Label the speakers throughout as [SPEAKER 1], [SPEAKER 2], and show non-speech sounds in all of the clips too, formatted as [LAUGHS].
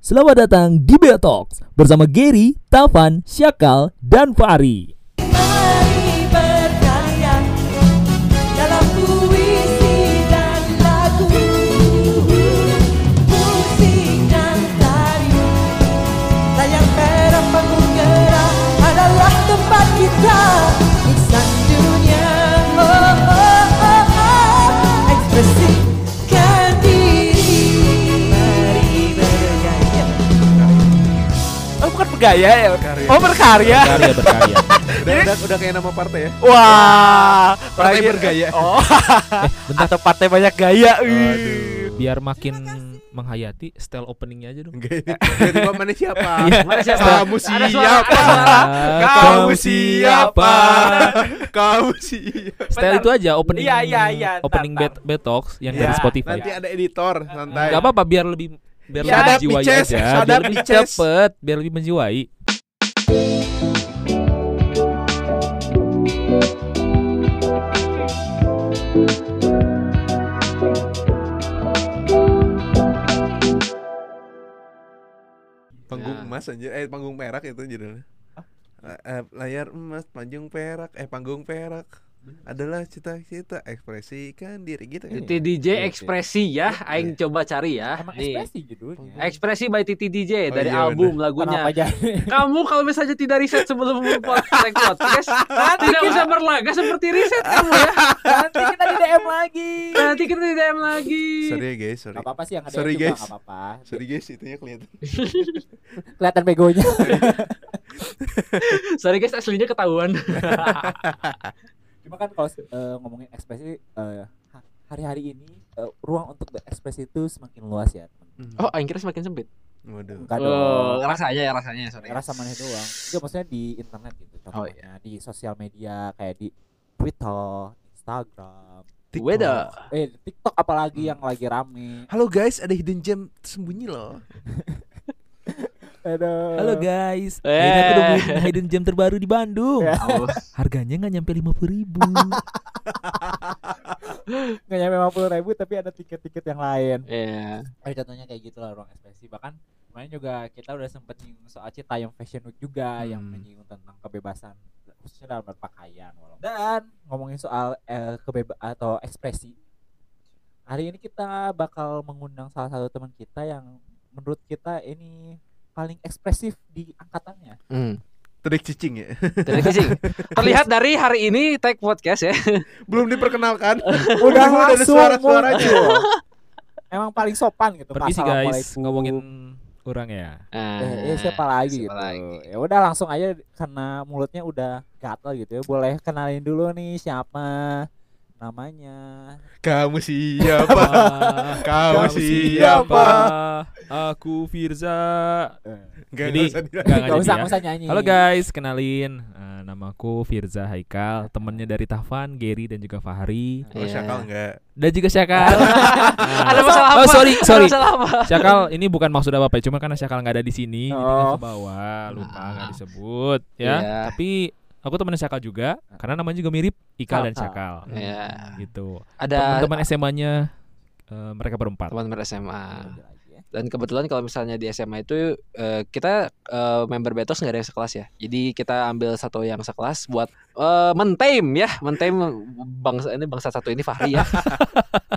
[SPEAKER 1] Selamat datang di Bea Talks bersama Gary, Tavan, Syakal, dan Fahri.
[SPEAKER 2] Mari berkarya dalam puisi dan lagu, musik dan tari. Layar merah panggung gerah adalah tempat kita iksan dunia. Oh, oh, oh, oh. Ekspresikan diri. Mari berkarya.
[SPEAKER 3] Oh bukan pegaya ya?
[SPEAKER 4] Berkarya.
[SPEAKER 3] Oh berkarya.
[SPEAKER 1] Karya berkarya.
[SPEAKER 4] Udah, udah, udah kayak nama partai ya?
[SPEAKER 3] Wah,
[SPEAKER 4] Partai
[SPEAKER 3] terakhir-
[SPEAKER 4] bergaya.
[SPEAKER 3] Oh, atau partai banyak gaya.
[SPEAKER 4] Aduh.
[SPEAKER 5] biar makin menghayati style openingnya aja dong.
[SPEAKER 4] Enggak ini. Dari gua mana [LAUGHS] siapa?
[SPEAKER 5] Mana siapa?
[SPEAKER 4] Kamu siapa? Kamu siapa? Kamu siapa?
[SPEAKER 5] Style itu aja opening.
[SPEAKER 3] Iya, iya, iya, ntar,
[SPEAKER 5] Opening
[SPEAKER 3] ntar.
[SPEAKER 5] bet betox yang
[SPEAKER 3] Iya,
[SPEAKER 4] Ya,
[SPEAKER 5] dari Spotify. ya.
[SPEAKER 4] Nanti ada editor santai.
[SPEAKER 5] Gak apa-apa biar lebih biar
[SPEAKER 3] Shut
[SPEAKER 5] lebih
[SPEAKER 4] up,
[SPEAKER 5] menjiwai
[SPEAKER 4] bitches.
[SPEAKER 5] aja,
[SPEAKER 4] Shut
[SPEAKER 5] biar
[SPEAKER 4] up,
[SPEAKER 5] lebih
[SPEAKER 4] bitches.
[SPEAKER 5] cepet, biar lebih menjiwai.
[SPEAKER 4] Panggung emas anjir. Eh panggung perak itu judulnya. La- eh, layar emas, panjang perak, eh panggung perak adalah cita-cita ekspresikan diri gitu kan.
[SPEAKER 6] Titi DJ ekspresi
[SPEAKER 4] Iya,
[SPEAKER 6] ya, aing coba cari ya. Nih.
[SPEAKER 1] judulnya.
[SPEAKER 6] Ekspresi by Titi DJ
[SPEAKER 4] Oh,
[SPEAKER 6] dari
[SPEAKER 4] iya,
[SPEAKER 6] album
[SPEAKER 1] [LAUGHS]
[SPEAKER 6] lagunya.
[SPEAKER 1] Kenapa jadi?
[SPEAKER 6] Kamu kalau misalnya tidak riset sebelum record podcast, tidak bisa berlaga seperti riset
[SPEAKER 4] Ah,
[SPEAKER 6] kamu ya.
[SPEAKER 1] Nanti kita di DM lagi.
[SPEAKER 6] Nanti kita di DM lagi.
[SPEAKER 4] iya. Sorry ya guys, sorry.
[SPEAKER 1] Gak apa-apa sih yang ada
[SPEAKER 4] Sorry,
[SPEAKER 1] yang juga,
[SPEAKER 4] guys.
[SPEAKER 1] gak apa-apa.
[SPEAKER 4] Sorry guys, itunya kelihatan.
[SPEAKER 1] Kelihatan begonya.
[SPEAKER 6] Sorry guys, aslinya ketahuan.
[SPEAKER 1] Cuma kan kalau eh, ngomongin ekspresi eh, ha- hari-hari ini eh, ruang untuk berekspresi itu semakin luas ya. teman.
[SPEAKER 6] [LAUGHS] Oh, aing kira semakin sempit.
[SPEAKER 4] Waduh.
[SPEAKER 1] Enggak dong.
[SPEAKER 6] Oh, rasanya ya rasanya, sorry.
[SPEAKER 1] Rasa mana doang. Itu maksudnya di internet gitu.
[SPEAKER 6] Oh,
[SPEAKER 1] Contohnya di sosial media kayak di Twitter, Instagram,
[SPEAKER 6] Weda. Hmm.
[SPEAKER 1] eh di TikTok apalagi yang lagi rame.
[SPEAKER 4] Halo guys, ada hidden gem tersembunyi loh.
[SPEAKER 1] Aduh.
[SPEAKER 5] Halo guys,
[SPEAKER 6] Eh.
[SPEAKER 5] akhirnya aku nemuin hidden gem terbaru di Bandung.
[SPEAKER 1] Ya.
[SPEAKER 6] Oh,
[SPEAKER 5] Harganya nggak nyampe lima puluh ribu.
[SPEAKER 1] nggak nyampe 50 ribu tapi ada tiket-tiket yang lain.
[SPEAKER 6] [LAUGHS] iya.
[SPEAKER 1] Ada contohnya kayak gitu lah ruang ekspresi. Bahkan kemarin juga kita udah sempet nyinggung soal Citayam Fashion Week juga yang
[SPEAKER 4] Hmm.
[SPEAKER 1] menyinggung tentang kebebasan khususnya dalam berpakaian. walaupun- Dan ngomongin soal eh, kebeba atau ekspresi. Hari ini kita bakal mengundang salah satu teman kita yang menurut kita ini paling ekspresif di angkatannya.
[SPEAKER 4] Trik cicing ya. [LAUGHS]
[SPEAKER 6] Tidak kisih. Hmm. Terlihat dari hari ini tag podcast ya.
[SPEAKER 4] Belum [LAUGHS] diperkenalkan.
[SPEAKER 1] Udah
[SPEAKER 4] ada
[SPEAKER 1] langsung
[SPEAKER 4] suara-suaranya.
[SPEAKER 1] muncul. Emang paling sopan gitu.
[SPEAKER 5] [LAUGHS] Permisi guys,
[SPEAKER 1] Assalamualaikum.
[SPEAKER 5] ngomongin orang ya.
[SPEAKER 1] Eh, eh, siapa lagi
[SPEAKER 6] Nah, iya, siapa
[SPEAKER 1] gitu.
[SPEAKER 6] lagi?
[SPEAKER 1] Ya udah langsung aja karena mulutnya udah gatel gitu ya. Boleh kenalin dulu nih siapa namanya.
[SPEAKER 4] Kamu siapa? [LAUGHS] Kamu siapa?
[SPEAKER 5] Aku Firza.
[SPEAKER 4] Gak
[SPEAKER 5] Jadi,
[SPEAKER 4] usah di-
[SPEAKER 5] Nggak, nggak jadi
[SPEAKER 1] Gak usah,
[SPEAKER 5] ya.
[SPEAKER 1] nggak usah nyanyi.
[SPEAKER 5] Halo guys, kenalin Eh, nama aku Firza Haikal, temennya dari Tavan, Gary dan juga Fahri
[SPEAKER 4] Oh,
[SPEAKER 6] Iya.
[SPEAKER 4] syakal enggak.
[SPEAKER 5] dan juga Syakal. Nah,
[SPEAKER 6] Ada masalah apa?
[SPEAKER 5] Oh sorry
[SPEAKER 6] Ada
[SPEAKER 5] sorry,
[SPEAKER 6] masalah apa?
[SPEAKER 5] Syakal ini bukan maksud apa apa, cuma karena Syakal nggak ada di sini, jadi nggak
[SPEAKER 1] Oh.
[SPEAKER 5] kebawa, lupa nggak
[SPEAKER 6] Ah.
[SPEAKER 5] disebut ya.
[SPEAKER 6] Iya.
[SPEAKER 5] Tapi aku temennya Syakal juga, karena namanya juga mirip Ikal dan Syakal
[SPEAKER 6] Iya. Ya.
[SPEAKER 5] gitu.
[SPEAKER 6] Ada
[SPEAKER 5] Teman-teman SMA-nya eh, mereka
[SPEAKER 6] [LAUGHS]
[SPEAKER 5] berempat.
[SPEAKER 6] teman SMA.
[SPEAKER 1] Lanjut lagi ya.
[SPEAKER 6] dan kebetulan kalau misalnya di SMA itu eh, kita eh, member Betos nggak ada yang sekelas ya jadi kita ambil satu yang sekelas buat eh, mentaim ya mentaim bangsa ini bangsa satu ini
[SPEAKER 5] [LAUGHS]
[SPEAKER 6] Fahri ya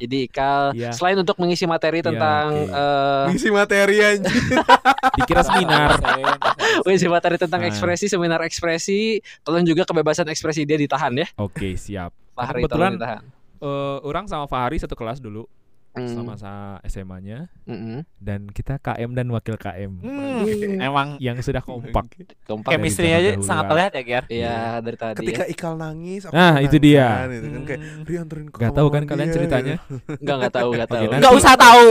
[SPEAKER 6] jadi Ikal
[SPEAKER 5] Iya.
[SPEAKER 6] selain untuk mengisi materi
[SPEAKER 5] Iya,
[SPEAKER 6] tentang eh, [LAUGHS]
[SPEAKER 4] Mengisi materi anjir.
[SPEAKER 5] Dikira seminar.
[SPEAKER 1] Dosen, dosen.
[SPEAKER 6] mengisi materi tentang
[SPEAKER 5] Ah.
[SPEAKER 6] ekspresi seminar ekspresi tolong juga kebebasan ekspresi dia ditahan ya
[SPEAKER 5] Oke siap.
[SPEAKER 6] Fahri
[SPEAKER 5] Kebetulan-
[SPEAKER 6] tolong ditahan
[SPEAKER 5] Eh, orang sama Fahri satu kelas dulu
[SPEAKER 6] Mm,
[SPEAKER 5] sama sama SMA-nya.
[SPEAKER 6] mm-mm.
[SPEAKER 5] dan kita KM dan wakil KM
[SPEAKER 4] Hmm.
[SPEAKER 7] Emang
[SPEAKER 5] yang sudah kompak.
[SPEAKER 6] keempat
[SPEAKER 5] Kayak
[SPEAKER 7] chemistry
[SPEAKER 5] zaman
[SPEAKER 7] aja
[SPEAKER 5] dahulu
[SPEAKER 7] sangat
[SPEAKER 5] lah.
[SPEAKER 7] terlihat ya, Ger.
[SPEAKER 6] Iya dari tadi
[SPEAKER 4] Ketika
[SPEAKER 6] ya.
[SPEAKER 4] Ikal nangis aku
[SPEAKER 5] Nah, itu dia.
[SPEAKER 4] menangkan, gitu kan kayak Ri anterin ke
[SPEAKER 5] Gak tahu kan
[SPEAKER 4] kamar
[SPEAKER 5] kalian
[SPEAKER 4] dia," [LAUGHS]
[SPEAKER 5] ceritanya?
[SPEAKER 6] nggak nggak tahu nggak tahu
[SPEAKER 5] Oke, nanti-
[SPEAKER 7] Enggak usah
[SPEAKER 5] [LAUGHS]
[SPEAKER 7] tahu.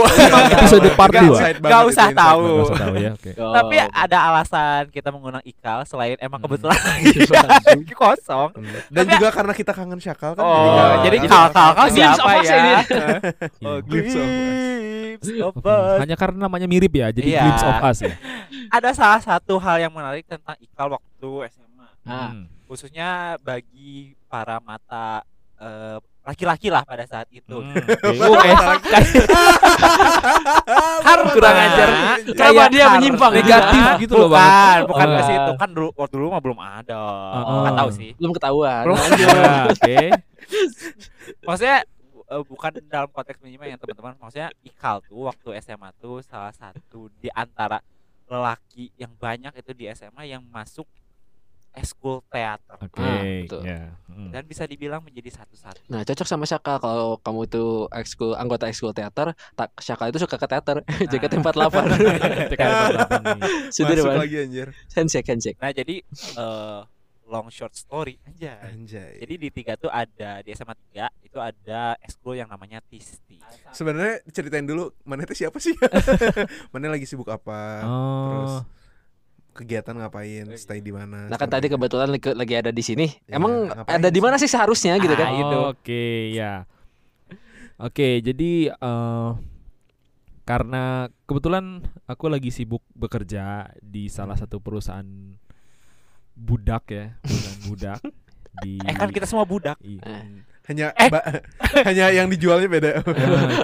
[SPEAKER 5] Episode part
[SPEAKER 4] Nggak
[SPEAKER 5] 2.
[SPEAKER 4] usah. Insight banget
[SPEAKER 7] Enggak
[SPEAKER 4] itu,
[SPEAKER 7] usah
[SPEAKER 4] insight
[SPEAKER 7] tahu.
[SPEAKER 5] Nggak usah tahu ya. Oke.
[SPEAKER 6] [LAUGHS] Oh,
[SPEAKER 7] Tapi ada alasan kita mengundang Ikal selain emang
[SPEAKER 5] Hmm.
[SPEAKER 7] kebetulan lagi kosong.
[SPEAKER 4] gitu. Dan juga karena kita kangen syakal kan.
[SPEAKER 7] Oh, jadi Kal Kal Kal
[SPEAKER 6] Glimpse
[SPEAKER 7] siapa
[SPEAKER 6] of us
[SPEAKER 7] ya?
[SPEAKER 1] [LAUGHS]
[SPEAKER 6] ini.
[SPEAKER 5] Iya.
[SPEAKER 4] Oh, glimpse
[SPEAKER 7] Glimpse
[SPEAKER 4] of
[SPEAKER 7] of
[SPEAKER 5] Oke.
[SPEAKER 7] us.
[SPEAKER 5] Hmm, Hanya karena namanya mirip ya, jadi
[SPEAKER 7] Iya.
[SPEAKER 5] glimpse of us ya.
[SPEAKER 7] Ada salah satu hal yang menarik tentang Ikal waktu SMA.
[SPEAKER 6] Ah.
[SPEAKER 5] Hmm.
[SPEAKER 7] Khususnya bagi para mata eh,
[SPEAKER 1] [LAUGHS]
[SPEAKER 7] laki-laki lah pada saat itu.
[SPEAKER 5] Hmm, oke.
[SPEAKER 1] Kan
[SPEAKER 7] Karena
[SPEAKER 3] kurang ajar.
[SPEAKER 6] Kenapa dia menyimpang?
[SPEAKER 7] Negatif gitu loh Bang.
[SPEAKER 1] bukan bukan
[SPEAKER 7] Oh.
[SPEAKER 1] ke situ kan dulu waktu dulu mah belum ada
[SPEAKER 7] Oh.
[SPEAKER 1] nggak tahu sih
[SPEAKER 6] Belum ketahuan.
[SPEAKER 1] Belum.
[SPEAKER 7] Ya, Oke.
[SPEAKER 1] maksudnya eh, bukan dalam konteks menyimpang ya teman-teman maksudnya ikal tuh waktu SMA tuh salah satu di antara lelaki yang banyak itu di SMA yang masuk eskul teater
[SPEAKER 7] Oke.
[SPEAKER 6] Ah, betul.
[SPEAKER 7] Ya. Hmm.
[SPEAKER 1] dan bisa dibilang menjadi satu-satu
[SPEAKER 6] Nah, cocok sama Syaka kalau kamu tuh ekskul anggota ekskul teater, tak Syaka itu suka ke teater. [LAUGHS] JKT48.
[SPEAKER 7] Ketika ada pertanyaan nih.
[SPEAKER 6] [LAUGHS] Sudah
[SPEAKER 4] Masuk
[SPEAKER 6] Bang.
[SPEAKER 4] lagi anjir.
[SPEAKER 6] Handshake, handshake.
[SPEAKER 1] nah jadi eh, long short story aja
[SPEAKER 4] Anjay.
[SPEAKER 1] Jadi di tiga tuh ada di SMA 3 itu ada ekskul yang namanya Tisti.
[SPEAKER 4] Sebenarnya ceritain dulu mana itu siapa sih? [LAUGHS] mana lagi sibuk apa?
[SPEAKER 7] Oh.
[SPEAKER 4] Kegiatan ngapain? Stay di mana?
[SPEAKER 6] Nah, kan tadi
[SPEAKER 4] sekarang?
[SPEAKER 6] kebetulan lagi- lagi ada di sini.
[SPEAKER 4] Ya,
[SPEAKER 7] Iya,
[SPEAKER 6] Emang
[SPEAKER 4] ngapain
[SPEAKER 6] ada di mana sih seharusnya gitu kan?
[SPEAKER 1] Ah, itu.
[SPEAKER 7] Oh, Oke, ya. Oke, jadi eh karena kebetulan aku lagi sibuk bekerja di salah satu perusahaan budak ya, perusahaan
[SPEAKER 1] [LAUGHS]
[SPEAKER 7] budak di
[SPEAKER 1] Eh kan kita semua budak. [LAUGHS]
[SPEAKER 7] i- hmm.
[SPEAKER 6] Eh.
[SPEAKER 4] hanya ba- [LAUGHS] hanya yang dijualnya
[SPEAKER 6] [LAUGHS]
[SPEAKER 4] beda.
[SPEAKER 7] Ah,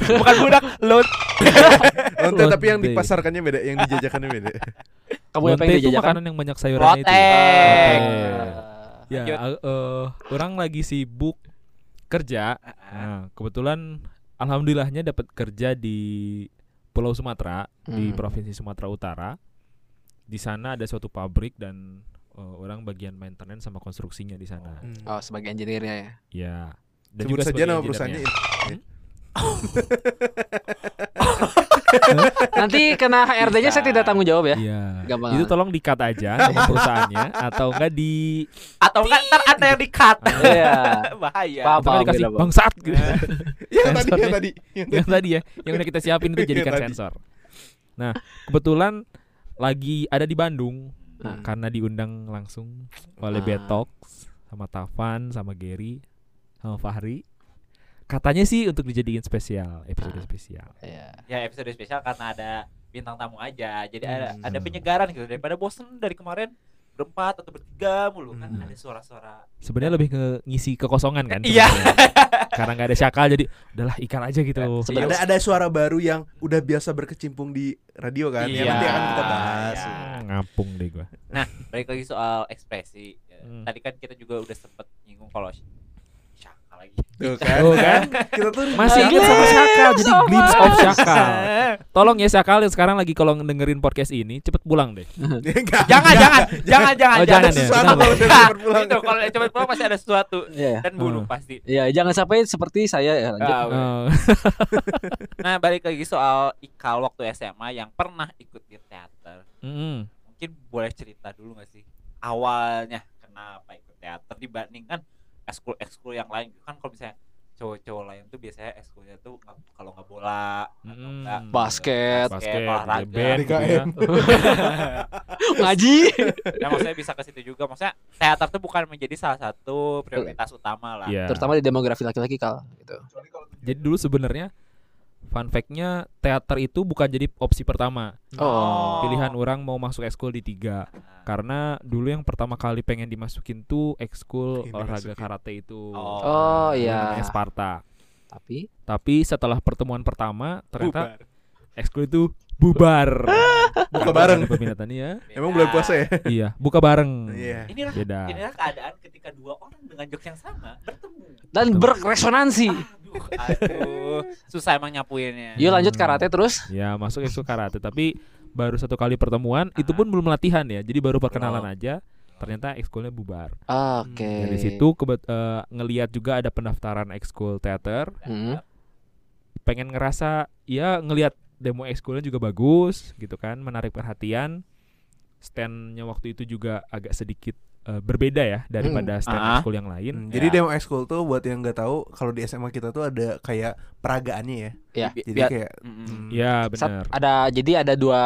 [SPEAKER 1] Bukan budak, lo
[SPEAKER 4] Lonte tapi yang
[SPEAKER 7] Lonte.
[SPEAKER 4] dipasarkannya beda, yang dijajakannya
[SPEAKER 6] [LAUGHS]
[SPEAKER 4] beda.
[SPEAKER 6] Kamu apa yang
[SPEAKER 7] Lonte
[SPEAKER 1] ya, kan?
[SPEAKER 7] itu
[SPEAKER 6] dijajakan?
[SPEAKER 7] makanan yang banyak sayurannya itu.
[SPEAKER 6] kan?
[SPEAKER 1] protek.
[SPEAKER 7] Ya, al- eh, orang lagi sibuk kerja.
[SPEAKER 1] Ah,
[SPEAKER 7] Nah, kebetulan alhamdulillahnya dapat kerja di Pulau Sumatera. di
[SPEAKER 6] Hmm.
[SPEAKER 7] provinsi Sumatera Utara. Di sana ada suatu pabrik dan eh, orang bagian maintenance sama konstruksinya di sana.
[SPEAKER 4] Hmm.
[SPEAKER 6] Oh, sebagai engineer ya.
[SPEAKER 7] Ya. Dan
[SPEAKER 4] Sebut
[SPEAKER 7] juga
[SPEAKER 4] saja
[SPEAKER 7] sebagai ya.
[SPEAKER 4] nama
[SPEAKER 7] engineer-nya.
[SPEAKER 4] perusahaannya. [LAUGHS]
[SPEAKER 6] Nanti kena HRD-nya saya tidak tanggung jawab ya.
[SPEAKER 7] Iya.
[SPEAKER 6] Gampang.
[SPEAKER 7] Itu tolong di-cut aja nama perusahaannya atau enggak di
[SPEAKER 1] Atau kan ntar ada yang di-cut.
[SPEAKER 6] Iya.
[SPEAKER 1] [LAUGHS] Bahaya.
[SPEAKER 6] Paham,
[SPEAKER 7] atau enggak
[SPEAKER 6] paham,
[SPEAKER 7] dikasih
[SPEAKER 6] beda, Bang.
[SPEAKER 7] bangsat gitu.
[SPEAKER 4] Yang Iya, tadi, yang
[SPEAKER 7] Sensornya.
[SPEAKER 4] tadi. Yang
[SPEAKER 7] yang [LAUGHS] tadi ya, yang udah kita siapin itu jadikan
[SPEAKER 4] Yang tadi.
[SPEAKER 7] sensor. Nah, kebetulan lagi ada di Bandung Nah,
[SPEAKER 6] Ah.
[SPEAKER 7] karena diundang langsung oleh
[SPEAKER 6] Ah.
[SPEAKER 7] Betox sama Tafan sama Gary sama Fahri. Katanya sih untuk dijadiin spesial, episode
[SPEAKER 6] Ah.
[SPEAKER 7] spesial.
[SPEAKER 6] Iya.
[SPEAKER 1] Ya episode spesial karena ada bintang tamu aja. Jadi ada
[SPEAKER 4] Hmm.
[SPEAKER 1] ada penyegaran gitu daripada bosen dari kemarin berempat atau bertiga mulu kan
[SPEAKER 4] Hmm.
[SPEAKER 1] ada suara-suara.
[SPEAKER 7] Sebenarnya lebih ke ngisi kekosongan kan?
[SPEAKER 1] Iya.
[SPEAKER 7] sebenarnya. Karena nggak ada syakal jadi udahlah ikan aja gitu.
[SPEAKER 1] Iya.
[SPEAKER 4] tadi. Ada ada suara baru yang udah biasa berkecimpung di radio kan? Ya
[SPEAKER 1] Iya.
[SPEAKER 4] nanti akan kita bahas.
[SPEAKER 1] Iya.
[SPEAKER 7] Ah, Ngapung deh gua.
[SPEAKER 1] Nah, Balik lagi soal ekspresi. Ya,
[SPEAKER 7] Hmm.
[SPEAKER 1] Tadi kan kita juga udah sempet nyinggung kalau Sy- Syaka lagi.
[SPEAKER 4] Tuh kan.
[SPEAKER 7] Tuh kan?
[SPEAKER 4] [LAUGHS] Kita tuh
[SPEAKER 7] Masih ingat
[SPEAKER 4] [LAUGHS]
[SPEAKER 7] sama syakal jadi glitch of syakal. Tolong ya syakal yang sekarang lagi kalau dengerin podcast ini cepet pulang deh.
[SPEAKER 4] Iya, Enggak.
[SPEAKER 1] jangan, jangan, jangan, jangan,
[SPEAKER 7] [LAUGHS] Oh,
[SPEAKER 1] jangan.
[SPEAKER 7] jangan ya.
[SPEAKER 4] Sesuatu
[SPEAKER 7] Kenapa?
[SPEAKER 4] kalau udah
[SPEAKER 7] [LAUGHS]
[SPEAKER 4] cepet pulang.
[SPEAKER 1] itu kalau yang cepat pulang pasti ada sesuatu
[SPEAKER 6] Iya.
[SPEAKER 1] dan bunuh
[SPEAKER 7] Hmm.
[SPEAKER 1] pasti.
[SPEAKER 6] Iya, jangan sampai seperti saya ya lanjut.
[SPEAKER 1] Ah, weh.
[SPEAKER 7] Eh,
[SPEAKER 1] Nah balik lagi soal ikal waktu SMA yang pernah ikut di teater.
[SPEAKER 7] mm-mm.
[SPEAKER 1] Mungkin boleh cerita dulu nggak sih awalnya kenapa ikut teater dibandingkan ekskul ekskul yang lain kan kalau misalnya cowok-cowok lain tuh biasanya ekskulnya tuh nggak- kalau nggak bola, atau
[SPEAKER 7] Mm.
[SPEAKER 1] nggak, eh,
[SPEAKER 6] Basket.
[SPEAKER 7] basket,
[SPEAKER 1] olahraga.
[SPEAKER 7] band, gitu ya.
[SPEAKER 6] Ngaji.
[SPEAKER 1] [LAUGHS] Nah, maksudnya bisa ke situ juga. Maksudnya teater tuh bukan menjadi salah satu prioritas utama lah.
[SPEAKER 7] Iya.
[SPEAKER 6] Terutama di demografi laki-laki kal gitu.
[SPEAKER 7] Jadi dulu sebenarnya fun fact-nya teater itu bukan jadi opsi pertama.
[SPEAKER 6] Oh.
[SPEAKER 7] Pilihan orang mau masuk ekskul di tiga.
[SPEAKER 1] Nah,
[SPEAKER 7] Karena dulu yang pertama kali pengen dimasukin tuh ekskul
[SPEAKER 4] Pengen
[SPEAKER 7] olahraga
[SPEAKER 4] dimasukin.
[SPEAKER 7] karate itu.
[SPEAKER 1] Oh.
[SPEAKER 6] Oh,
[SPEAKER 7] Dulu
[SPEAKER 6] iya.
[SPEAKER 7] namanya Sparta.
[SPEAKER 6] Tapi
[SPEAKER 7] Tapi setelah pertemuan pertama ternyata ekskul itu bubar.
[SPEAKER 4] Buka bareng.
[SPEAKER 7] Ada peminatannya.
[SPEAKER 4] Emang bulan puasa ya?
[SPEAKER 7] iya, buka bareng.
[SPEAKER 4] Iya.
[SPEAKER 1] Inilah
[SPEAKER 7] Beda.
[SPEAKER 1] inilah keadaan ketika dua orang dengan jokes yang sama bertemu.
[SPEAKER 6] dan berresonansi. [LAUGHS]
[SPEAKER 1] Aduh, aduh, susah emang nyapuinnya.
[SPEAKER 6] Yuk lanjut
[SPEAKER 7] Hmm.
[SPEAKER 6] karate terus.
[SPEAKER 7] Ya, masuk ekskul karate tapi baru satu kali pertemuan itu pun belum latihan ya. Jadi baru perkenalan aja. Ternyata ekskulnya bubar.
[SPEAKER 6] Oke.
[SPEAKER 7] Dari Nah, situ kebet- eh, ngelihat juga ada pendaftaran ekskul teater.
[SPEAKER 6] Hmm.
[SPEAKER 7] Pengen ngerasa ya ngelihat demo ekskulnya juga bagus gitu kan, menarik perhatian. Standnya waktu itu juga agak sedikit eh, berbeda ya daripada stand
[SPEAKER 1] Ah.
[SPEAKER 7] ekskul yang lain.
[SPEAKER 4] Hmm, Jadi demo ekskul tuh buat yang nggak tahu kalau di SMA kita tuh ada kayak peragaannya ya.
[SPEAKER 6] Iya.
[SPEAKER 4] Jadi kayak
[SPEAKER 1] Mm-mm.
[SPEAKER 4] hmm,
[SPEAKER 7] Ya
[SPEAKER 6] Sat-
[SPEAKER 7] benar.
[SPEAKER 6] ada jadi ada dua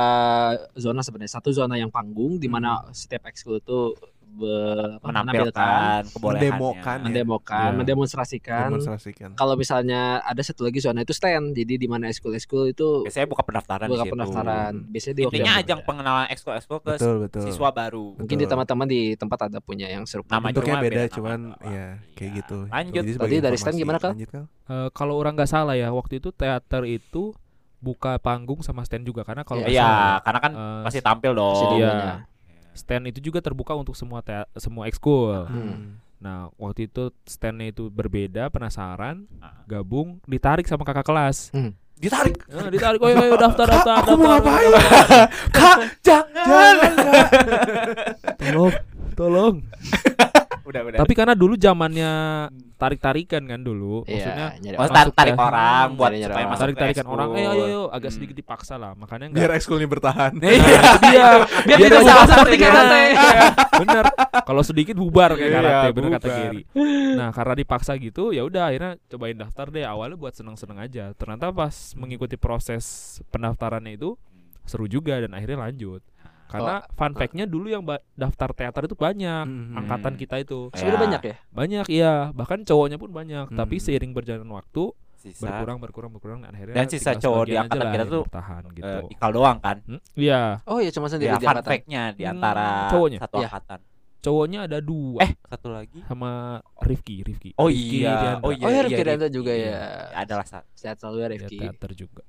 [SPEAKER 6] zona sebenarnya. Satu zona yang panggung di mana setiap ekskul itu be- apa, menampilkan,
[SPEAKER 1] menampilkan kebolehannya.
[SPEAKER 4] Mendemokan ya.
[SPEAKER 6] mendemokan,
[SPEAKER 7] Iya.
[SPEAKER 6] mendemonstrasikan.
[SPEAKER 4] Kan demonstrasikan.
[SPEAKER 6] Kalau misalnya ada satu lagi zona itu stand. Jadi di mana ekskul-ekskul itu
[SPEAKER 1] Biasanya buka pendaftaran di
[SPEAKER 6] buka
[SPEAKER 1] situ.
[SPEAKER 6] pendaftaran. Biasanya di
[SPEAKER 1] Intinya
[SPEAKER 7] Iya.
[SPEAKER 6] Oktober.
[SPEAKER 1] ajang pengenalan ekskul-ekskul ke
[SPEAKER 4] Betul betul.
[SPEAKER 1] siswa baru.
[SPEAKER 6] Mungkin
[SPEAKER 4] Betul.
[SPEAKER 6] di teman-teman di tempat ada punya yang serupa.
[SPEAKER 1] Nama
[SPEAKER 4] Bentuknya
[SPEAKER 1] cuma
[SPEAKER 4] beda
[SPEAKER 1] nama
[SPEAKER 4] cuman
[SPEAKER 1] doang.
[SPEAKER 4] ya kayak
[SPEAKER 1] Iya.
[SPEAKER 4] gitu.
[SPEAKER 1] Lanjut.
[SPEAKER 4] Jadi sebagai
[SPEAKER 6] Tadi dari stand
[SPEAKER 4] informasi,
[SPEAKER 6] gimana, Kal?
[SPEAKER 4] lanjut, Kal?
[SPEAKER 7] Eh, kalau orang nggak salah ya waktu itu teater itu buka panggung sama stand juga karena kalau
[SPEAKER 6] Iya.
[SPEAKER 7] nggak
[SPEAKER 1] Iya,
[SPEAKER 7] salah,
[SPEAKER 1] karena kan
[SPEAKER 7] eh,
[SPEAKER 1] pasti tampil
[SPEAKER 6] Pasti
[SPEAKER 1] dong. Ah.
[SPEAKER 7] iya.
[SPEAKER 6] dua-duanya.
[SPEAKER 7] stand itu juga terbuka untuk semua tea- semua ekskul.
[SPEAKER 6] Hmm.
[SPEAKER 4] Hmm.
[SPEAKER 7] Nah, waktu itu standnya itu berbeda, penasaran,
[SPEAKER 1] Ah.
[SPEAKER 7] gabung, ditarik sama kakak kelas.
[SPEAKER 4] Ditarik.
[SPEAKER 7] Eh, ditarik, oh ayo daftar, daftar,
[SPEAKER 4] Aku mau
[SPEAKER 7] daftar.
[SPEAKER 4] ngapain?
[SPEAKER 7] Jangan, tolong, tolong.
[SPEAKER 1] Udah, udah.
[SPEAKER 7] Tapi karena dulu zamannya tarik-tarikan kan dulu, maksudnya
[SPEAKER 6] Iya, nyari
[SPEAKER 1] Mas
[SPEAKER 7] Maksudnya-
[SPEAKER 1] tarik, tarik orang buat
[SPEAKER 6] Nyari-nyari
[SPEAKER 7] Iya,
[SPEAKER 1] supaya masuk
[SPEAKER 6] orang.
[SPEAKER 1] ke
[SPEAKER 7] ya. tarik-tarikan orang, eh ayo,
[SPEAKER 1] ekskul.
[SPEAKER 7] ayo, agak
[SPEAKER 1] Hmm.
[SPEAKER 7] sedikit dipaksa lah, makanya enggak.
[SPEAKER 4] Biar ekskulnya bertahan.
[SPEAKER 7] Nah, itu dia.
[SPEAKER 6] Biar
[SPEAKER 7] Biar
[SPEAKER 6] tidak
[SPEAKER 7] ada
[SPEAKER 6] sama
[SPEAKER 7] bubar
[SPEAKER 6] seperti
[SPEAKER 7] sedikit.
[SPEAKER 6] karate.
[SPEAKER 7] Iya, Bener. Kalau sedikit bubar kayak
[SPEAKER 4] Iya,
[SPEAKER 7] karate, bener kata
[SPEAKER 4] bubar.
[SPEAKER 7] Gary. Nah, karena dipaksa gitu, ya udah akhirnya cobain daftar deh. Awalnya buat seneng-seneng aja. Ternyata pas mengikuti proses pendaftarannya itu seru juga dan akhirnya lanjut. Karena fun fact-nya dulu yang ba- daftar teater itu banyak.
[SPEAKER 1] Hmm.
[SPEAKER 7] Angkatan kita itu
[SPEAKER 6] Sebenarnya
[SPEAKER 1] Ya.
[SPEAKER 6] banyak ya.
[SPEAKER 7] banyak ya, bahkan cowoknya pun banyak. Tapi
[SPEAKER 4] Hmm.
[SPEAKER 7] seiring berjalan waktu
[SPEAKER 1] Sisa, eh,
[SPEAKER 7] berkurang, berkurang, berkurang. Dan akhirnya
[SPEAKER 1] Dan sisa
[SPEAKER 7] tinggal
[SPEAKER 1] cowok di
[SPEAKER 7] sebagian aja
[SPEAKER 1] angkatan
[SPEAKER 7] lah
[SPEAKER 1] kita
[SPEAKER 7] yang
[SPEAKER 1] tuh,
[SPEAKER 7] bertahan gitu.
[SPEAKER 1] eh, ikal doang kan.
[SPEAKER 7] Hmm, Iya,
[SPEAKER 6] Oh iya cuma sendiri
[SPEAKER 1] Ya,
[SPEAKER 6] di
[SPEAKER 1] fun
[SPEAKER 6] angkatan.
[SPEAKER 1] fact-nya di antara
[SPEAKER 7] Hmm, cowoknya?
[SPEAKER 1] satu
[SPEAKER 6] Iya.
[SPEAKER 1] angkatan.
[SPEAKER 7] cowoknya ada dua. Eh,
[SPEAKER 1] Satu lagi.
[SPEAKER 7] sama Rifki, Rifki.
[SPEAKER 1] Oh
[SPEAKER 7] Rifki
[SPEAKER 1] iya, oh
[SPEAKER 7] Diandra.
[SPEAKER 6] Oh
[SPEAKER 1] iya,
[SPEAKER 6] iya,
[SPEAKER 1] iya,
[SPEAKER 6] Rifki
[SPEAKER 1] iya.
[SPEAKER 6] Ranta juga ya.
[SPEAKER 1] Adalah satu.
[SPEAKER 6] Sehat selalu ya
[SPEAKER 7] Dia
[SPEAKER 6] Rifki.
[SPEAKER 7] Iya, teater juga.